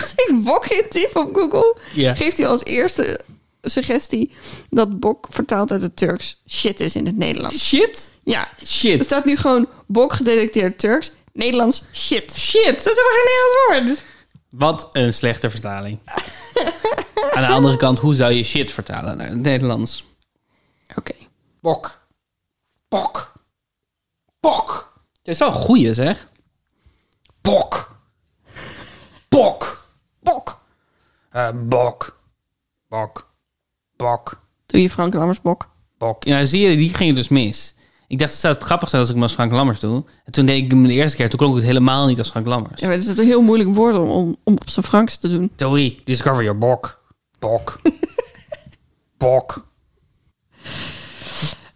Speaker 2: Als ik bok intyp op Google,
Speaker 1: Ja.
Speaker 2: geeft hij als eerste suggestie dat bok vertaald uit het Turks shit is in het Nederlands.
Speaker 1: Shit.
Speaker 2: Ja. Er
Speaker 1: Shit.
Speaker 2: staat nu gewoon bok gedetecteerd Turks, Nederlands shit. Shit. Dat is helemaal geen Nederlands woord.
Speaker 1: Wat een slechte vertaling. Aan de andere kant, hoe zou je shit vertalen naar het Nederlands?
Speaker 2: Oké.
Speaker 1: Bok. Bok. Dit is wel een goeie, zeg. Pok. Pok. Pok. Eh, bok. Bok. Bok.
Speaker 2: Doe je Frank Lammersbok.
Speaker 1: Bok. Ja, zie je, die ging dus mis. Ik dacht, het zou het grappig zijn als ik hem als Frank Lammers doe. En toen deed ik hem de eerste keer, toen klonk het helemaal niet als Frank Lammers.
Speaker 2: Ja, maar het is een heel moeilijk woord om, om, om op zijn Franks te doen.
Speaker 1: Doei, discover your bok. Bok. bok.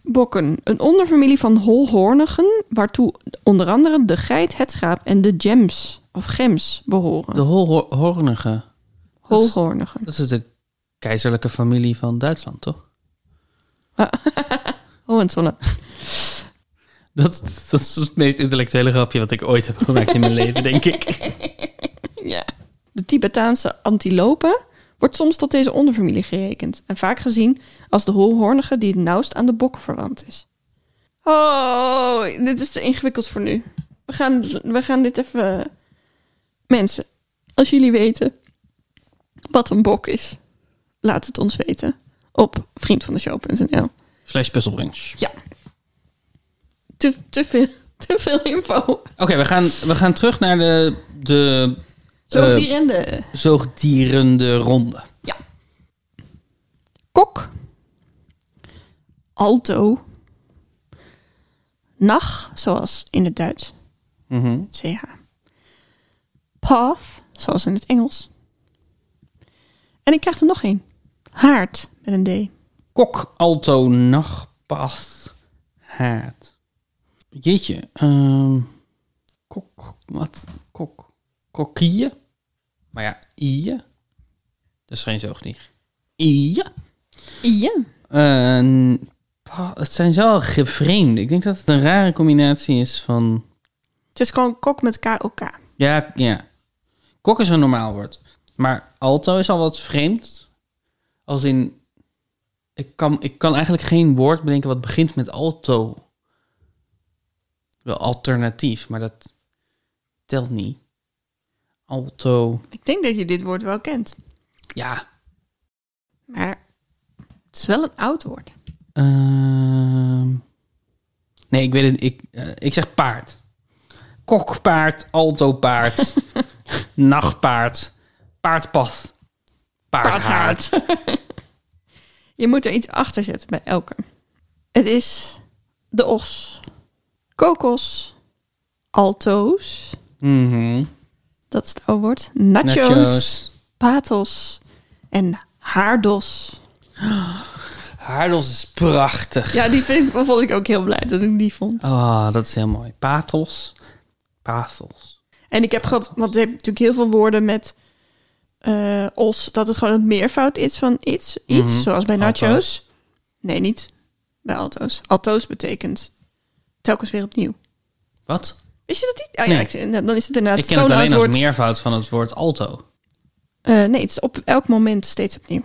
Speaker 2: Bokken, een onderfamilie van holhoornigen, waartoe onder andere de geit, het schaap en de gems of gems
Speaker 1: De
Speaker 2: behoren.
Speaker 1: Holhornige.
Speaker 2: Dus- Holhoornigen.
Speaker 1: Dat is de keizerlijke familie van Duitsland, toch?
Speaker 2: Hohenzollern.
Speaker 1: Dat, dat is het meest intellectuele grapje wat ik ooit heb gemaakt in mijn leven, denk ik.
Speaker 2: Ja. De Tibetaanse antilope wordt soms tot deze onderfamilie gerekend en vaak gezien als de holhoornige die het nauwst aan de bokken verwant is. Oh, dit is te ingewikkeld voor nu. We gaan, we gaan dit even. Mensen, als jullie weten wat een bok is, laat het ons weten op vriendvandeshow.nl.
Speaker 1: Slash puzzelbrunch.
Speaker 2: Ja. Te, te, veel, te veel info.
Speaker 1: Oké, we, gaan, we gaan terug naar de, de
Speaker 2: Zo
Speaker 1: Eh.
Speaker 2: die rende.
Speaker 1: zoogdierende ronde.
Speaker 2: Kok. Alto. Nach, zoals in het Duits.
Speaker 1: Mhm.
Speaker 2: CH. Path, zoals in het Engels. En ik krijg er nog één. Haard, met een D.
Speaker 1: Kok, alto, nachtpath, haat. Jeetje. ehm, kok, wat? Kok. Kokkie. Maar ja, ie. Dat is geen zoogdier. Ie.
Speaker 2: Ja.
Speaker 1: Eh, pa- het zijn wel gevreemd. Ik denk dat het een rare combinatie is van...
Speaker 2: Het is gewoon kok met K-O-K.
Speaker 1: Ja, ja. Kok is een normaal woord. Maar alto is al wat vreemd. Als in... Ik kan, ik kan eigenlijk geen woord bedenken wat begint met alto. Wel alternatief, maar dat telt niet. Alto.
Speaker 2: Ik denk dat je dit woord wel kent.
Speaker 1: Ja.
Speaker 2: Maar het is wel een oud woord.
Speaker 1: ehm. nee, ik weet het. Ik, eh, ik zeg paard. Kokpaard, altopaard, nachtpaard, paardpad, paardhaard.
Speaker 2: je moet er iets achter zetten bij elke. Het is de os, kokos, alto's,
Speaker 1: Mhm.
Speaker 2: dat is het oude woord, nachos,
Speaker 1: Nachos.
Speaker 2: patos en haardos.
Speaker 1: Haardos is prachtig.
Speaker 2: Ja, die vind, ik- vond ik ook heel blij dat ik die vond.
Speaker 1: Ah, dat is heel mooi. Pathos. Pathos.
Speaker 2: En ik heb gehad, want je hebt natuurlijk heel veel woorden met eh, os, dat het gewoon het meervoud is van iets, iets
Speaker 1: Mhm.
Speaker 2: zoals bij nachos.
Speaker 1: Alto's.
Speaker 2: Nee, niet bij alto's. Alto's betekent telkens weer opnieuw.
Speaker 1: Wat?
Speaker 2: Wist je dat niet? Oh ja,
Speaker 1: Nee.
Speaker 2: ik zie- nou, dan is het inderdaad
Speaker 1: ik ken het
Speaker 2: zo'n
Speaker 1: alleen
Speaker 2: oud
Speaker 1: als
Speaker 2: woord.
Speaker 1: meervoud van het woord alto.
Speaker 2: Eh, nee, het is op elk moment steeds opnieuw.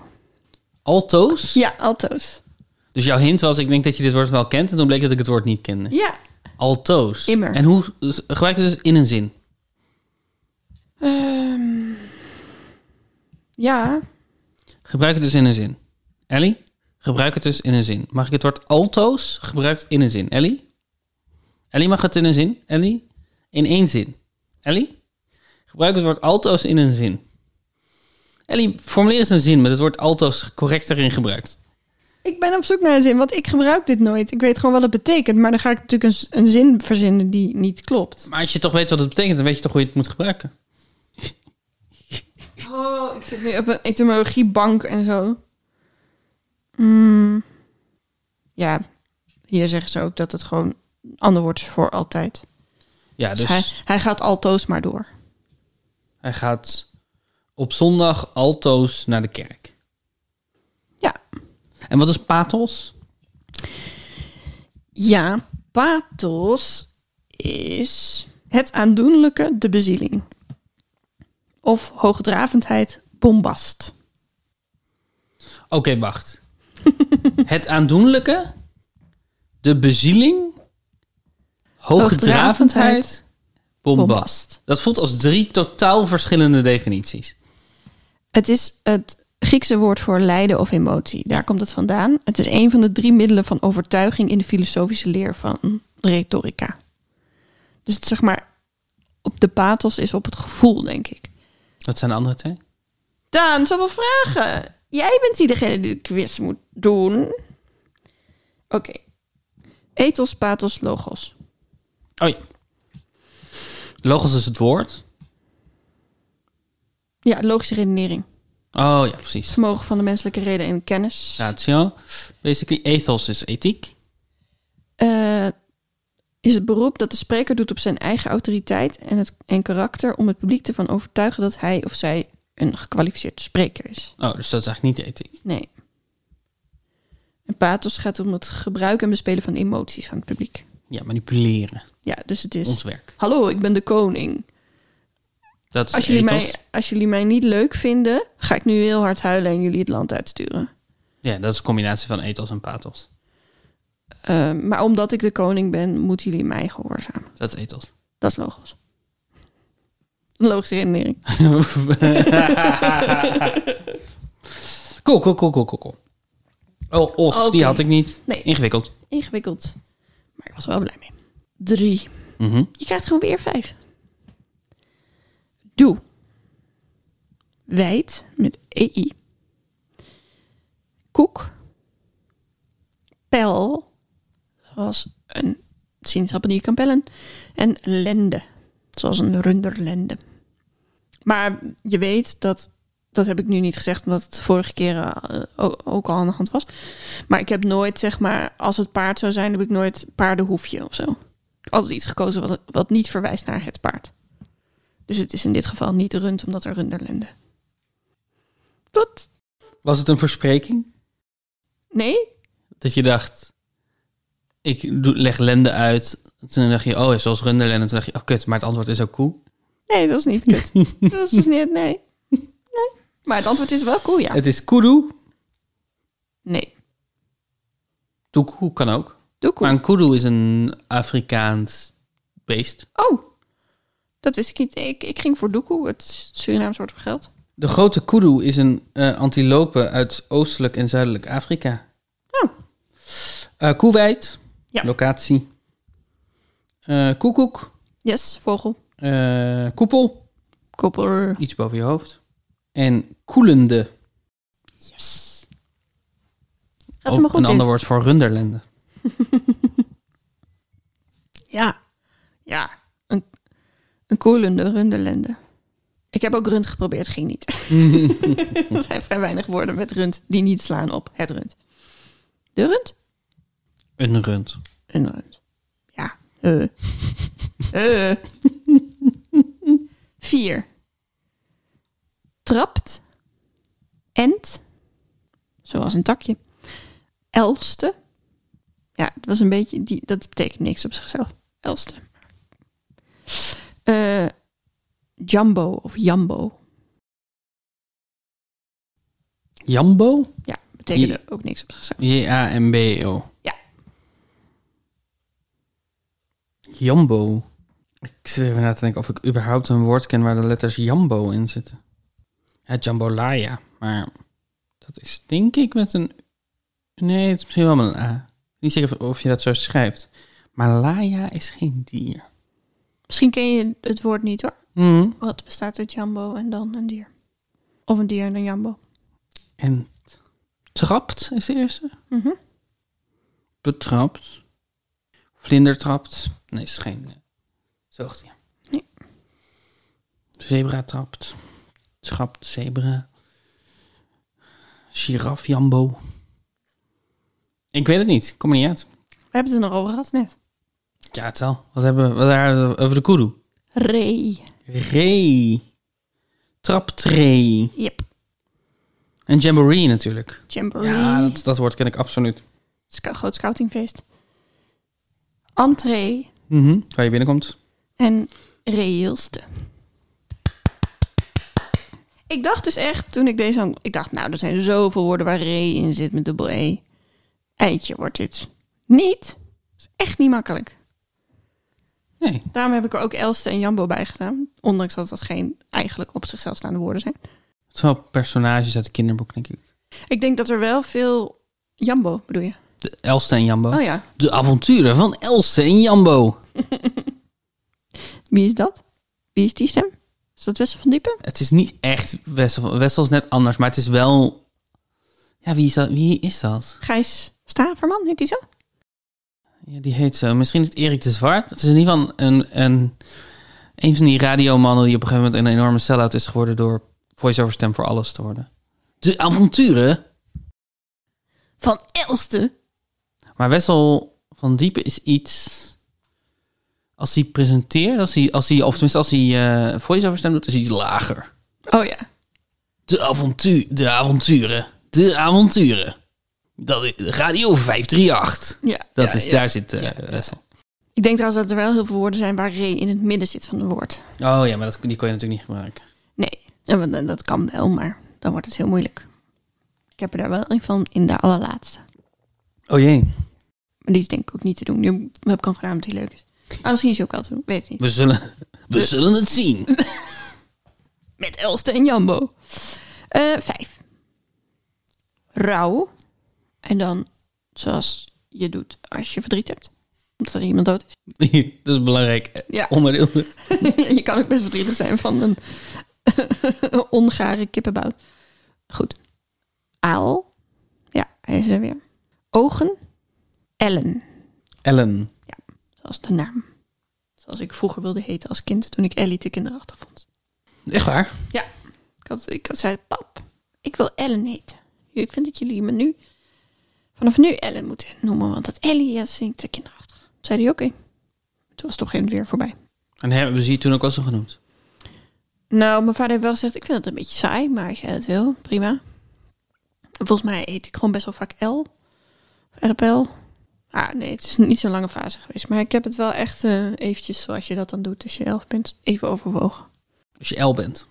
Speaker 1: Alto's?
Speaker 2: Ja, alto's.
Speaker 1: Dus jouw hint was, ik denk dat je dit woord wel kent. En toen bleek dat ik het woord niet kende.
Speaker 2: Ja.
Speaker 1: Alto's.
Speaker 2: Immer.
Speaker 1: En hoe dus, gebruik je het dus in een zin?
Speaker 2: Ehm, ja.
Speaker 1: Gebruik het dus in een zin. Ellie? Gebruik het dus in een zin. Mag ik het woord alto's gebruikt in een zin? Ellie? Ellie mag het in een zin? Ellie? In één zin. Ellie? Gebruik het woord alto's in een zin. Ellie, formuleer eens een zin met het woord alto's correct erin gebruikt.
Speaker 2: Ik ben op zoek naar een zin, want ik gebruik dit nooit. Ik weet gewoon wat het betekent, maar dan ga ik natuurlijk een, z- een zin verzinnen die niet klopt.
Speaker 1: Maar als je toch weet wat het betekent, dan weet je toch hoe je het moet gebruiken.
Speaker 2: Oh, ik zit nu op een etymologiebank en zo. Hmm. Ja, hier zeggen ze ook dat het gewoon een ander woord is voor altijd.
Speaker 1: Ja, dus
Speaker 2: Dus hij, hij gaat altoos maar door.
Speaker 1: hij gaat op zondag alto's naar de kerk.
Speaker 2: Ja,
Speaker 1: En wat is pathos?
Speaker 2: Ja, pathos is het aandoenlijke, de bezieling. Of hoogdravendheid, bombast.
Speaker 1: Oké, wacht. het aandoenlijke, de bezieling, hoogdravendheid,
Speaker 2: Hoogdravendheid,
Speaker 1: bombast.
Speaker 2: bombast.
Speaker 1: Dat voelt als drie totaal verschillende definities.
Speaker 2: Het is het Griekse woord voor lijden of emotie. Daar komt het vandaan. Het is een van de drie middelen van overtuiging in de filosofische leer van de retorica. Dus het, zeg maar, op de pathos is op het gevoel, denk ik.
Speaker 1: Wat zijn de andere twee?
Speaker 2: Daan, zoveel vragen. Jij bent die degene die de quiz moet doen. Oké. Ethos, pathos, logos.
Speaker 1: Oh ja. Logos is het woord.
Speaker 2: Ja, logische redenering.
Speaker 1: Oh ja, precies.
Speaker 2: Vermogen van de menselijke reden en kennis.
Speaker 1: Ratio. Basically, ethos is ethiek.
Speaker 2: Eh, is het beroep dat de spreker doet op zijn eigen autoriteit en, het, en karakter om het publiek ervan overtuigen dat hij of zij een gekwalificeerd spreker is.
Speaker 1: Oh, dus dat is eigenlijk niet ethiek.
Speaker 2: Nee. En pathos gaat om het gebruik en bespelen van emoties van het publiek.
Speaker 1: Ja, manipuleren.
Speaker 2: Ja, dus het is...
Speaker 1: Ons werk.
Speaker 2: Hallo, ik ben de koning.
Speaker 1: Dat is
Speaker 2: Als jullie,
Speaker 1: ethos.
Speaker 2: mij, als jullie mij niet leuk vinden, ga ik nu heel hard huilen en jullie het land uitsturen.
Speaker 1: Ja, dat is een combinatie van ethos en pathos.
Speaker 2: Eh, maar omdat ik de koning ben, moeten jullie mij gehoorzamen.
Speaker 1: Dat is ethos.
Speaker 2: Dat is logos. Logische redenering.
Speaker 1: Cool, cool, cool, cool, cool, cool. Oh, os,
Speaker 2: Oké.
Speaker 1: die had ik niet.
Speaker 2: Nee.
Speaker 1: Ingewikkeld.
Speaker 2: Ingewikkeld. Maar ik was er wel blij mee. Drie.
Speaker 1: Mhm.
Speaker 2: Je krijgt gewoon weer vijf. Doe. Wijd met EI. Koek. Pel. Zoals een sinaasappel die je kan pellen. En lende. Zoals een runderlende. Maar je weet dat. Dat heb ik nu niet gezegd, omdat het de vorige keer eh, ook- ook al aan de hand was. Maar ik heb nooit, zeg maar, als het paard zou zijn, heb ik nooit paardenhoefje of zo altijd iets gekozen wat, wat niet verwijst naar het paard. Dus het is in dit geval niet rund, omdat er runderlende. Wat?
Speaker 1: Was het een verspreking?
Speaker 2: Nee?
Speaker 1: Dat je dacht, ik doe- leg lende uit. Toen dacht je, oh, is zoals runderlende. Toen dacht je, oh kut, maar het antwoord is ook koe.
Speaker 2: Nee, dat is niet kut. dat is dus niet, nee. Nee. Maar het antwoord is wel cool, ja.
Speaker 1: Het is kudu.
Speaker 2: Nee.
Speaker 1: Doe koe kan ook.
Speaker 2: Doe cool.
Speaker 1: Maar een kudu is een Afrikaans beest.
Speaker 2: Oh, dat wist ik niet. Ik, ik ging voor doekoe, het Surinaams woord voor geld.
Speaker 1: De grote kudu is een eh, antilope uit oostelijk en zuidelijk Afrika.
Speaker 2: Oh.
Speaker 1: Eh Koewijd,
Speaker 2: Ja.
Speaker 1: locatie. Eh koekoek,
Speaker 2: Yes, vogel.
Speaker 1: Eh, koepel,
Speaker 2: Koppel.
Speaker 1: iets boven je hoofd. En koelende,
Speaker 2: Yes. Gaat
Speaker 1: ook
Speaker 2: helemaal goed
Speaker 1: Oh, een
Speaker 2: dit.
Speaker 1: ander woord voor runderlende.
Speaker 2: Ja. Ja. Een, een koelende runderlende. Ik heb ook rund geprobeerd, ging niet. er zijn vrij weinig woorden met rund die niet slaan op het rund. De rund?
Speaker 1: Een rund.
Speaker 2: Een rund. Ja. Eh. Eh. Vier. Trapt. Ent. Zoals een takje. Elste. Ja, het was een beetje... Die, dat betekent niks op zichzelf. Elste. Eh, jumbo of Jambo.
Speaker 1: Jambo?
Speaker 2: Ja, betekende ook niks op zichzelf.
Speaker 1: J-A-M-B-O.
Speaker 2: Ja.
Speaker 1: Jambo. Ik zit even na te denken of ik überhaupt een woord ken waar de letters Jambo in zitten. Ja, jambolaya. Maar dat is denk ik met een... Nee, het is misschien wel met een A. Niet zeker of- of je dat zo schrijft. Maar laya is geen dier.
Speaker 2: Misschien ken je het woord niet hoor.
Speaker 1: Mhm.
Speaker 2: Wat bestaat uit Jambo en dan een dier? Of een dier en een Jambo.
Speaker 1: En trapt is de eerste.
Speaker 2: Mhm.
Speaker 1: Betrapt. Vlinder trapt. Nee, is geen eh, zoogdier.
Speaker 2: Nee.
Speaker 1: Zebra trapt. Trapt zebra. Giraf jambo. Ik weet het niet. Kom er niet uit.
Speaker 2: We hebben het er nog over gehad net.
Speaker 1: Ja, het zal. Wat hebben we wat hebben we over de kudu?
Speaker 2: Ree.
Speaker 1: Ree. Traptree.
Speaker 2: Yep.
Speaker 1: En jamboree natuurlijk.
Speaker 2: Jamboree.
Speaker 1: Ja, dat, dat woord ken ik absoluut.
Speaker 2: Sc- groot scoutingfeest. Entree
Speaker 1: Mhm. Waar je binnenkomt.
Speaker 2: en reëelste. Ik dacht dus echt, toen ik deze aan... Ik dacht, nou, er zijn zoveel woorden waar re in zit met dubbel e. Eitje wordt dit. Niet. is echt niet makkelijk.
Speaker 1: Nee.
Speaker 2: Daarom heb ik er ook Elste en Jambo bij gedaan. Ondanks dat dat geen eigenlijk op zichzelf staande woorden zijn.
Speaker 1: Het zijn wel personages uit het kinderboek, denk ik.
Speaker 2: Ik denk dat er wel veel... Jambo bedoel je?
Speaker 1: De Elste en Jambo.
Speaker 2: Oh ja.
Speaker 1: De avonturen van Elste en Jambo.
Speaker 2: Wie is dat? Wie is die stem? Is dat Wessel van Diepen?
Speaker 1: Het is niet echt Wessel. Wessel is net anders, maar het is wel... Ja, wie is dat? Wie is dat?
Speaker 2: Gijs Staverman, heet hij zo?
Speaker 1: Ja, die heet zo. Misschien is het Erik de Zwart. Het is in ieder geval een, een, een van die radiomannen die op een gegeven moment een enorme sell-out is geworden door voice-over stem voor alles te worden. De avonturen.
Speaker 2: Van Elste.
Speaker 1: Maar Wessel van Diepen is iets... Als hij presenteert, als hij, als hij, of tenminste als hij eh voice-over stem doet, is hij iets lager.
Speaker 2: Oh ja.
Speaker 1: De avontuur, de avonturen, de avonturen. Dat is Radio 538.
Speaker 2: ja
Speaker 1: Dat
Speaker 2: ja,
Speaker 1: is,
Speaker 2: ja.
Speaker 1: daar zit eh,
Speaker 2: Ja, ja.
Speaker 1: Wessel.
Speaker 2: Ik denk trouwens dat er wel heel veel woorden zijn waar re in het midden zit van een woord.
Speaker 1: Oh ja, maar dat, die kon je natuurlijk niet gebruiken.
Speaker 2: Nee, en want- en dat kan wel, maar dan wordt het heel moeilijk. Ik heb er daar wel een van in de allerlaatste.
Speaker 1: Oh jee.
Speaker 2: Maar die is denk ik ook niet te doen. Die heb ik al gedaan omdat die leuk is. Ah, misschien is die ook wel te doen, weet ik niet.
Speaker 1: We zullen, we zullen het zien.
Speaker 2: Met Elste en Jambo. Eh, vijf. Rauw. En dan zoals je doet als je verdriet hebt. Omdat er iemand dood is.
Speaker 1: dat is een belangrijk eh,
Speaker 2: Ja.
Speaker 1: onderdeel.
Speaker 2: je kan ook best verdrietig zijn van een ongare kippenbout. Goed. Aal. Ja, hij is er weer. Ogen. Ellen.
Speaker 1: Ellen.
Speaker 2: Zoals de naam. Zoals ik vroeger wilde heten als kind toen ik Ellie te kinderachtig vond.
Speaker 1: Echt waar?
Speaker 2: Ja. Ik had, ik had zei, pap, ik wil Ellen heten. Ik vind dat jullie me nu, vanaf nu Ellen moeten noemen. Want dat Ellie is niet te kinderachtig. Toen zei hij, oké. Toen was toch geen weer voorbij.
Speaker 1: En hebben ze je toen ook al zo genoemd?
Speaker 2: Nou, mijn vader heeft wel gezegd, ik vind het een beetje saai, maar als jij dat wil, prima. En Volgens mij eet ik gewoon best wel vaak L. L. Ah, nee, het is niet zo'n lange fase geweest. Maar ik heb het wel echt eh, eventjes, zoals je dat dan doet als je elf bent, even overwogen.
Speaker 1: Als je El bent.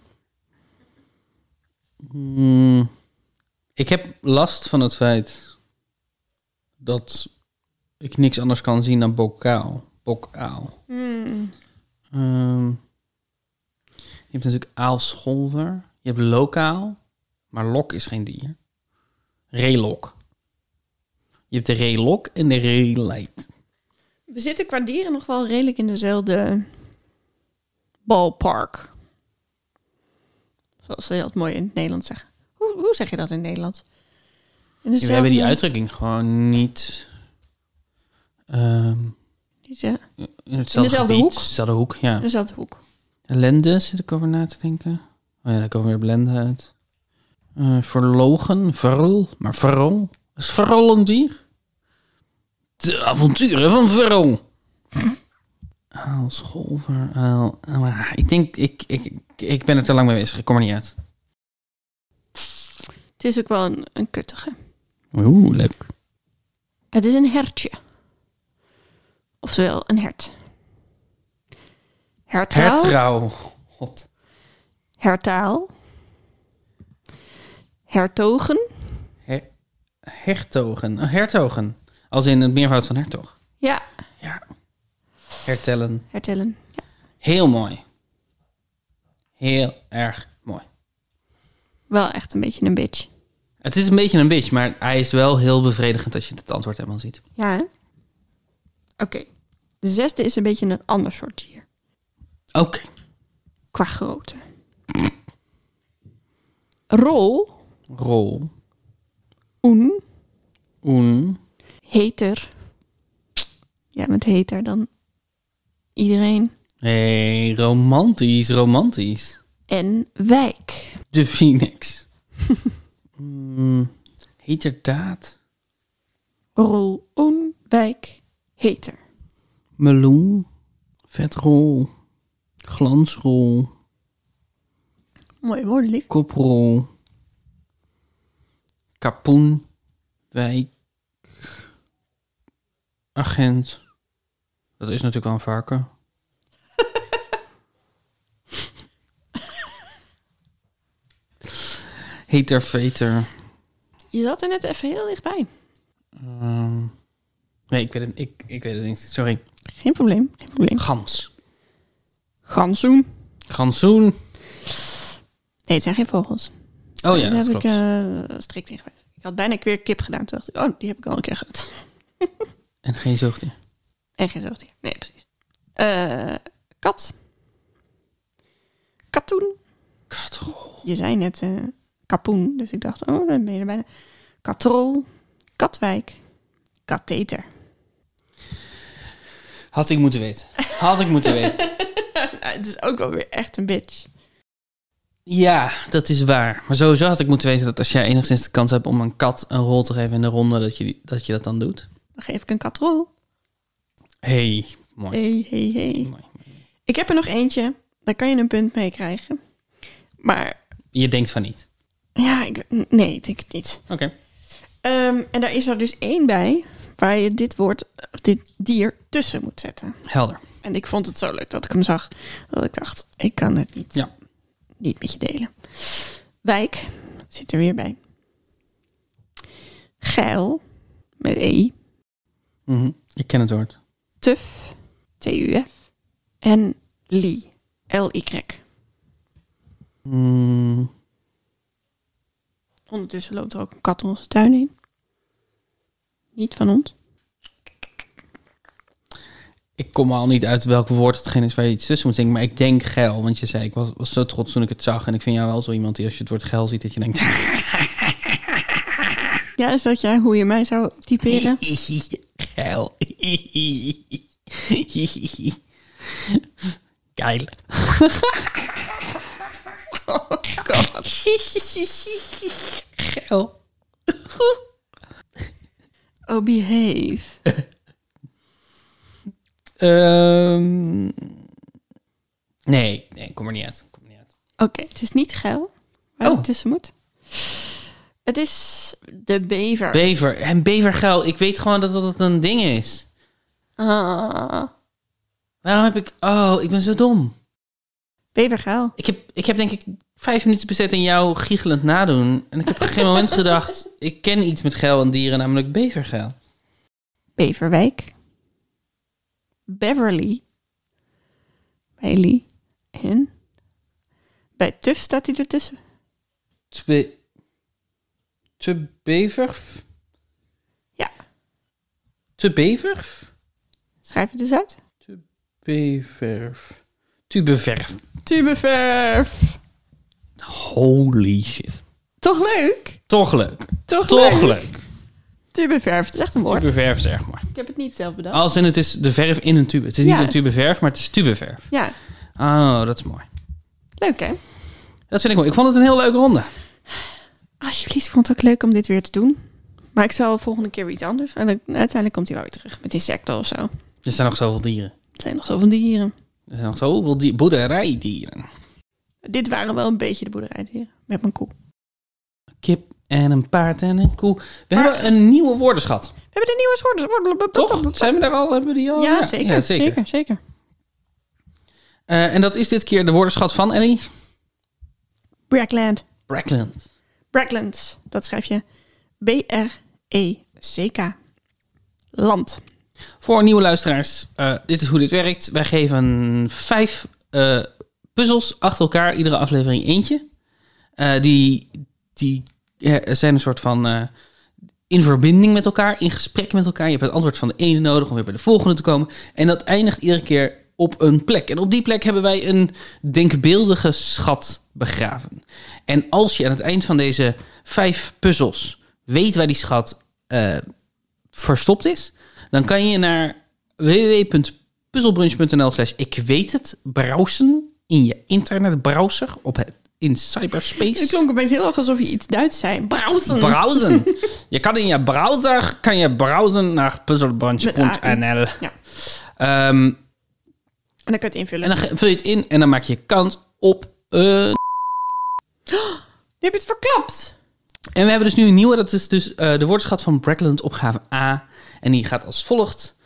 Speaker 1: Hmm. Ik heb last van het feit dat ik niks anders kan zien dan bokaal. Bokaal. Ehm, je hebt natuurlijk aalscholver. Je hebt lokaal. Maar lok is geen dier. Relok. Je hebt de relok en de releit.
Speaker 2: We zitten qua dieren nog wel redelijk in dezelfde ballpark. Zoals ze dat mooi in het Nederlands zeggen. Hoe, hoe zeg je dat in het Nederlands? In
Speaker 1: We hebben die
Speaker 2: dezelfde-
Speaker 1: uitdrukking gewoon niet... ehm,
Speaker 2: die-
Speaker 1: in hetzelfde,
Speaker 2: dezelfde
Speaker 1: gebied,
Speaker 2: hoek?
Speaker 1: Dezelfde hoek, ja.
Speaker 2: Dezelfde hoek.
Speaker 1: Ellende zit ik over na te denken. Oh ja, daar komen weer blenden uit. Eh, verlogen, verl, maar verrol. Is verrol een dier? De avonturen van verrol. Aal, scholver, aal. aal, maar Ah, Ik denk, ik, ik, ik, ik ben er te lang mee bezig. Ik kom er niet uit.
Speaker 2: Het is ook wel een, een kuttige.
Speaker 1: Oeh, leuk.
Speaker 2: Het is een hertje. Oftewel een hert. Hertaal.
Speaker 1: Hertrouw. God.
Speaker 2: Hertaal. Hertogen.
Speaker 1: Her- hertogen. Oh, hertogen. Als in het meervoud van hertog.
Speaker 2: Ja,
Speaker 1: Ja. Hertellen.
Speaker 2: hertellen. Ja.
Speaker 1: Heel mooi. Heel erg mooi.
Speaker 2: Wel echt een beetje een bitch.
Speaker 1: Het is een beetje een bitch, maar hij is wel heel bevredigend als je het antwoord helemaal ziet.
Speaker 2: Ja, hè? Oké. De zesde is een beetje een ander soort dier.
Speaker 1: Oké.
Speaker 2: Qua grootte. Rol.
Speaker 1: Rol.
Speaker 2: Oen.
Speaker 1: Oen.
Speaker 2: Heter. Ja, met heter dan iedereen.
Speaker 1: Hé, hey, romantisch, romantisch.
Speaker 2: En wijk.
Speaker 1: De Phoenix. mm, heterdaad.
Speaker 2: Rol on wijk heter.
Speaker 1: Meloen. Vetrol. Glansrol.
Speaker 2: Mooie woorden, lief.
Speaker 1: Koprol. Kapoen. Wijk. Agent. Dat is natuurlijk wel een varken. Heter veter.
Speaker 2: Je zat er net even heel dichtbij.
Speaker 1: Ehm, nee, ik weet, het, ik, ik weet het niet. Sorry.
Speaker 2: Geen probleem, geen probleem.
Speaker 1: Gans.
Speaker 2: Gansoen.
Speaker 1: Gansoen.
Speaker 2: Nee, het zijn geen vogels.
Speaker 1: Oh ja,
Speaker 2: Daar
Speaker 1: dat
Speaker 2: heb
Speaker 1: klopt.
Speaker 2: ik eh, strikt in geweest. Ik had bijna weer kip gedaan. Toen dacht ik, oh, die heb ik al een keer gehad.
Speaker 1: En geen zoogdier.
Speaker 2: En geen zoogdier. Nee, precies. Eh, kat. je zei net eh kapoen, dus ik dacht, oh, dan ben je er bijna. Katrol, Katwijk, katheter.
Speaker 1: Had ik moeten weten. Had ik moeten weten.
Speaker 2: Nou, het is ook wel weer echt een bitch.
Speaker 1: Ja, dat is waar. Maar sowieso had ik moeten weten dat als jij enigszins de kans hebt om een kat een rol te geven in de ronde, dat je, die- dat, je dat dan doet.
Speaker 2: Dan geef ik een katrol.
Speaker 1: hey, mooi.
Speaker 2: Hey, hey, hey.
Speaker 1: Mooi.
Speaker 2: Ik heb er nog eentje, daar kan je een punt mee krijgen. Maar
Speaker 1: Je denkt van niet.
Speaker 2: ja, ik, nee, ik denk het niet.
Speaker 1: Oké.
Speaker 2: Ehm, en daar is er dus één bij waar je dit woord, of dit dier, tussen moet zetten.
Speaker 1: Helder.
Speaker 2: En ik vond het zo leuk dat ik hem zag, dat ik dacht, ik kan het niet,
Speaker 1: Ja.
Speaker 2: niet met je delen. Wijk zit er weer bij. Geil, met E,
Speaker 1: Mhm. Ik ken het woord.
Speaker 2: tuf, T-U-F, en Lee, L-Y.
Speaker 1: Mm,
Speaker 2: Ondertussen loopt er ook een kat door onze tuin heen. Niet van ons.
Speaker 1: ik kom al niet uit welk woord hetgeen is waar je iets tussen moet denken. Maar ik denk geil. Want je zei, ik was, was zo trots toen ik het zag. En ik vind jou wel zo iemand die als je het woord geil ziet, dat je denkt...
Speaker 2: Ja, is dat jij hoe je mij zou typeren?
Speaker 1: geil. Geil. Geil.
Speaker 2: Oh, behave.
Speaker 1: Ehm, nee, nee, kom er niet uit. Kom er niet uit.
Speaker 2: Oké, het is niet geil. Waar
Speaker 1: Oh.
Speaker 2: het tussen moet. Het is de bever.
Speaker 1: Bever. En bevergeil. Ik weet gewoon dat dat een ding is.
Speaker 2: ah,
Speaker 1: Waarom heb ik... Oh, ik ben zo dom.
Speaker 2: bevergeil.
Speaker 1: Ik heb, ik heb denk ik vijf minuten bezet in jou giechelend nadoen. En ik heb op geen moment gedacht... Ik ken iets met geil en dieren, namelijk bevergeil.
Speaker 2: Beverwijk. Beverly. Bij Lee. En? Bij Tuf staat hij ertussen.
Speaker 1: Te, be- te bever...
Speaker 2: Ja,
Speaker 1: Te bever...
Speaker 2: schrijf het eens uit.
Speaker 1: Te beverf. Te beverf.
Speaker 2: Tubeverf.
Speaker 1: Holy shit.
Speaker 2: Toch leuk?
Speaker 1: Toch leuk.
Speaker 2: Toch,
Speaker 1: Toch
Speaker 2: leuk?
Speaker 1: leuk.
Speaker 2: Tubeverf, het is echt een woord.
Speaker 1: Tubeverf, Oh. zeg maar.
Speaker 2: Ik heb het niet zelf bedacht.
Speaker 1: Als in het is de verf in een tube. Het is niet
Speaker 2: Ja.
Speaker 1: een tubeverf, maar het is tubeverf.
Speaker 2: Ja,
Speaker 1: Oh, dat is mooi.
Speaker 2: leuk hè?
Speaker 1: Dat vind ik mooi. Ik vond het een heel leuke ronde.
Speaker 2: Alsjeblieft, ik vond het ook leuk om dit weer te doen. Maar ik zal volgende keer weer iets anders. En dan, uiteindelijk komt hij wel weer terug met insecten of zo.
Speaker 1: Er zijn nog zoveel dieren.
Speaker 2: Er zijn nog zoveel dieren.
Speaker 1: Er zijn nog zoveel die boerderijdieren.
Speaker 2: Dit waren wel een beetje de boerderijdieren. Met mijn koe.
Speaker 1: Kip en een paard en een koe. We
Speaker 2: Maar-
Speaker 1: hebben een nieuwe woordenschat.
Speaker 2: We hebben de nieuwe soorten.
Speaker 1: Toch? Zijn we daar al? Hebben we die al?
Speaker 2: Ja, zeker,
Speaker 1: ja,
Speaker 2: zeker. Zeker, zeker.
Speaker 1: Eh, en dat is dit keer de woordenschat van Ellie.
Speaker 2: Brackland.
Speaker 1: Brackland.
Speaker 2: Bracklands. Dat schrijf je B-R-E-C-K. Land.
Speaker 1: Voor nieuwe luisteraars, eh, dit is hoe dit werkt. Wij geven vijf eh, puzzels achter elkaar, iedere aflevering eentje. Eh, die die eh, zijn een soort van eh, in verbinding met elkaar, in gesprek met elkaar. Je hebt het antwoord van de ene nodig om weer bij de volgende te komen. En dat eindigt iedere keer op een plek. En op die plek hebben wij een denkbeeldige schat begraven. En als je aan het eind van deze vijf puzzels weet waar die schat eh, verstopt is, dan kan je naar www.puzzelbrunch.nl slash ik weet het browsen in je internetbrowser op het, in cyberspace.
Speaker 2: Het klonk opeens heel erg alsof je iets Duits zei. Brausen.
Speaker 1: Browsen. je kan in je browser kan je browsen naar
Speaker 2: Met
Speaker 1: puzzelbrunch.nl.
Speaker 2: ja.
Speaker 1: Ehm,
Speaker 2: En dan kan je het invullen.
Speaker 1: en dan ge- vul je het in en dan maak je kans op een...
Speaker 2: Je hebt het verklapt.
Speaker 1: En we hebben dus nu een nieuwe. Dat is dus eh, de woordenschat van Brackland opgave A. En die gaat als volgt.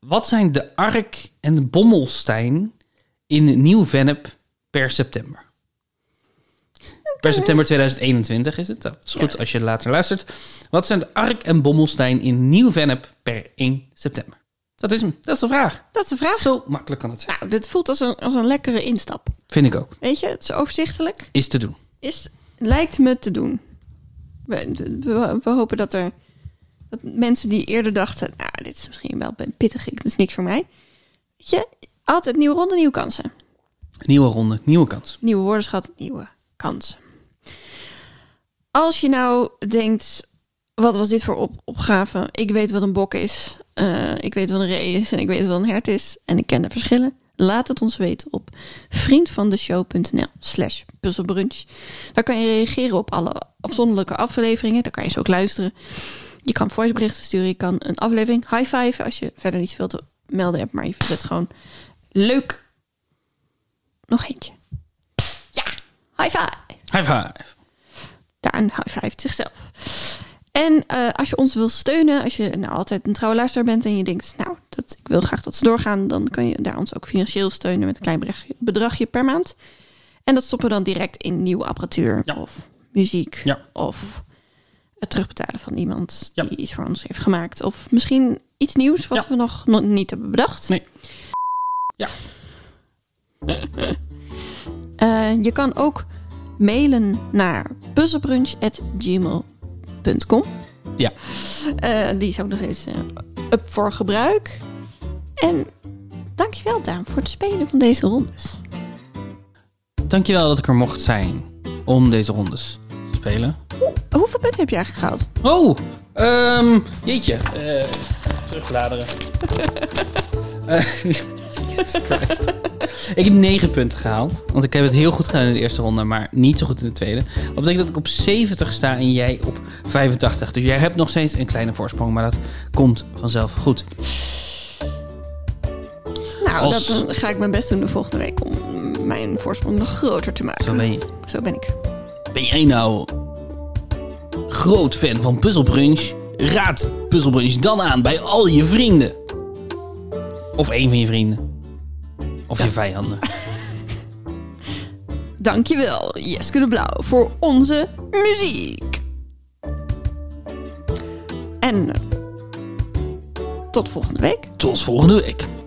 Speaker 1: Wat zijn de Ark en de Bommelstein in Nieuw-Vennep per september? Per september 2021 is het. Dat is goed
Speaker 2: Ja.
Speaker 1: als je later luistert. Wat zijn de Ark en Bommelstein in Nieuw-Vennep per 1 september? Dat is hem. Dat is de vraag.
Speaker 2: Dat is de vraag.
Speaker 1: Zo makkelijk kan het zijn.
Speaker 2: Nou, dit voelt als een, als een lekkere instap.
Speaker 1: Vind ik ook.
Speaker 2: Weet je, het is overzichtelijk.
Speaker 1: Is te doen.
Speaker 2: Is, lijkt me te doen. We, we, we hopen dat er dat mensen die eerder dachten... nou, dit is misschien wel pittig, dit is niks voor mij. Weet je, altijd nieuwe ronde, nieuwe kansen.
Speaker 1: Nieuwe ronde, nieuwe kans.
Speaker 2: Nieuwe woordenschat, nieuwe kansen. Als je nou denkt, wat was dit voor op opgave? Ik weet wat een bok is. eh, ik weet wat een ree is en ik weet wat een hert is. En ik ken de verschillen. Laat het ons weten op vriendvandeshow.nl slash puzzelbrunch. Daar kan je reageren op alle afzonderlijke afleveringen. Daar kan je ze ook luisteren. Je kan voiceberichten sturen. Je kan een aflevering high five als je verder niet zoveel te melden hebt. Maar je vindt het gewoon leuk. Nog eentje. Ja, high five
Speaker 1: High five.
Speaker 2: daar een high five zichzelf. En eh, als je ons wil steunen, als je nou altijd een trouwe luisteraar bent en je denkt, nou, dat, ik wil graag dat ze doorgaan, dan kan je daar ons ook financieel steunen met een klein bedragje, bedragje per maand. En dat stoppen we dan direct in nieuwe apparatuur
Speaker 1: Ja.
Speaker 2: of muziek
Speaker 1: Ja.
Speaker 2: of het terugbetalen van iemand
Speaker 1: Ja.
Speaker 2: die iets voor ons heeft gemaakt. Of misschien iets nieuws wat
Speaker 1: Ja.
Speaker 2: we nog no- niet hebben bedacht.
Speaker 1: Nee. Ja.
Speaker 2: Eh, je kan ook mailen naar puzzelbrunch.gmail.com.
Speaker 1: Ja.
Speaker 2: Eh, die is ook nog steeds eh, up voor gebruik. En dankjewel Daan voor het spelen van deze rondes.
Speaker 1: Dankjewel dat ik er mocht zijn om deze rondes te spelen.
Speaker 2: Hoe- hoeveel punten heb je eigenlijk gehaald?
Speaker 1: Oh, ehm, jeetje. Eh terugbladeren. Eh, Jesus Christ. Ik heb 9 punten gehaald. Want ik heb het heel goed gedaan in de eerste ronde, maar niet zo goed in de tweede. Dat betekent dat ik op 70 sta en jij op 85. Dus jij hebt nog steeds een kleine voorsprong, maar dat komt vanzelf goed.
Speaker 2: Nou,
Speaker 1: Als-
Speaker 2: dat dan ga ik mijn best doen de volgende week om mijn voorsprong nog groter te maken.
Speaker 1: Zo ben je.
Speaker 2: Zo ben ik.
Speaker 1: Ben jij nou groot fan van Puzzlebrunch? Raad Puzzlebrunch dan aan bij al je vrienden. Of één van je vrienden. Of je vijanden.
Speaker 2: Dankjewel, Jeske de Blauw, voor onze muziek. En eh, tot volgende week.
Speaker 1: Tot volgende week.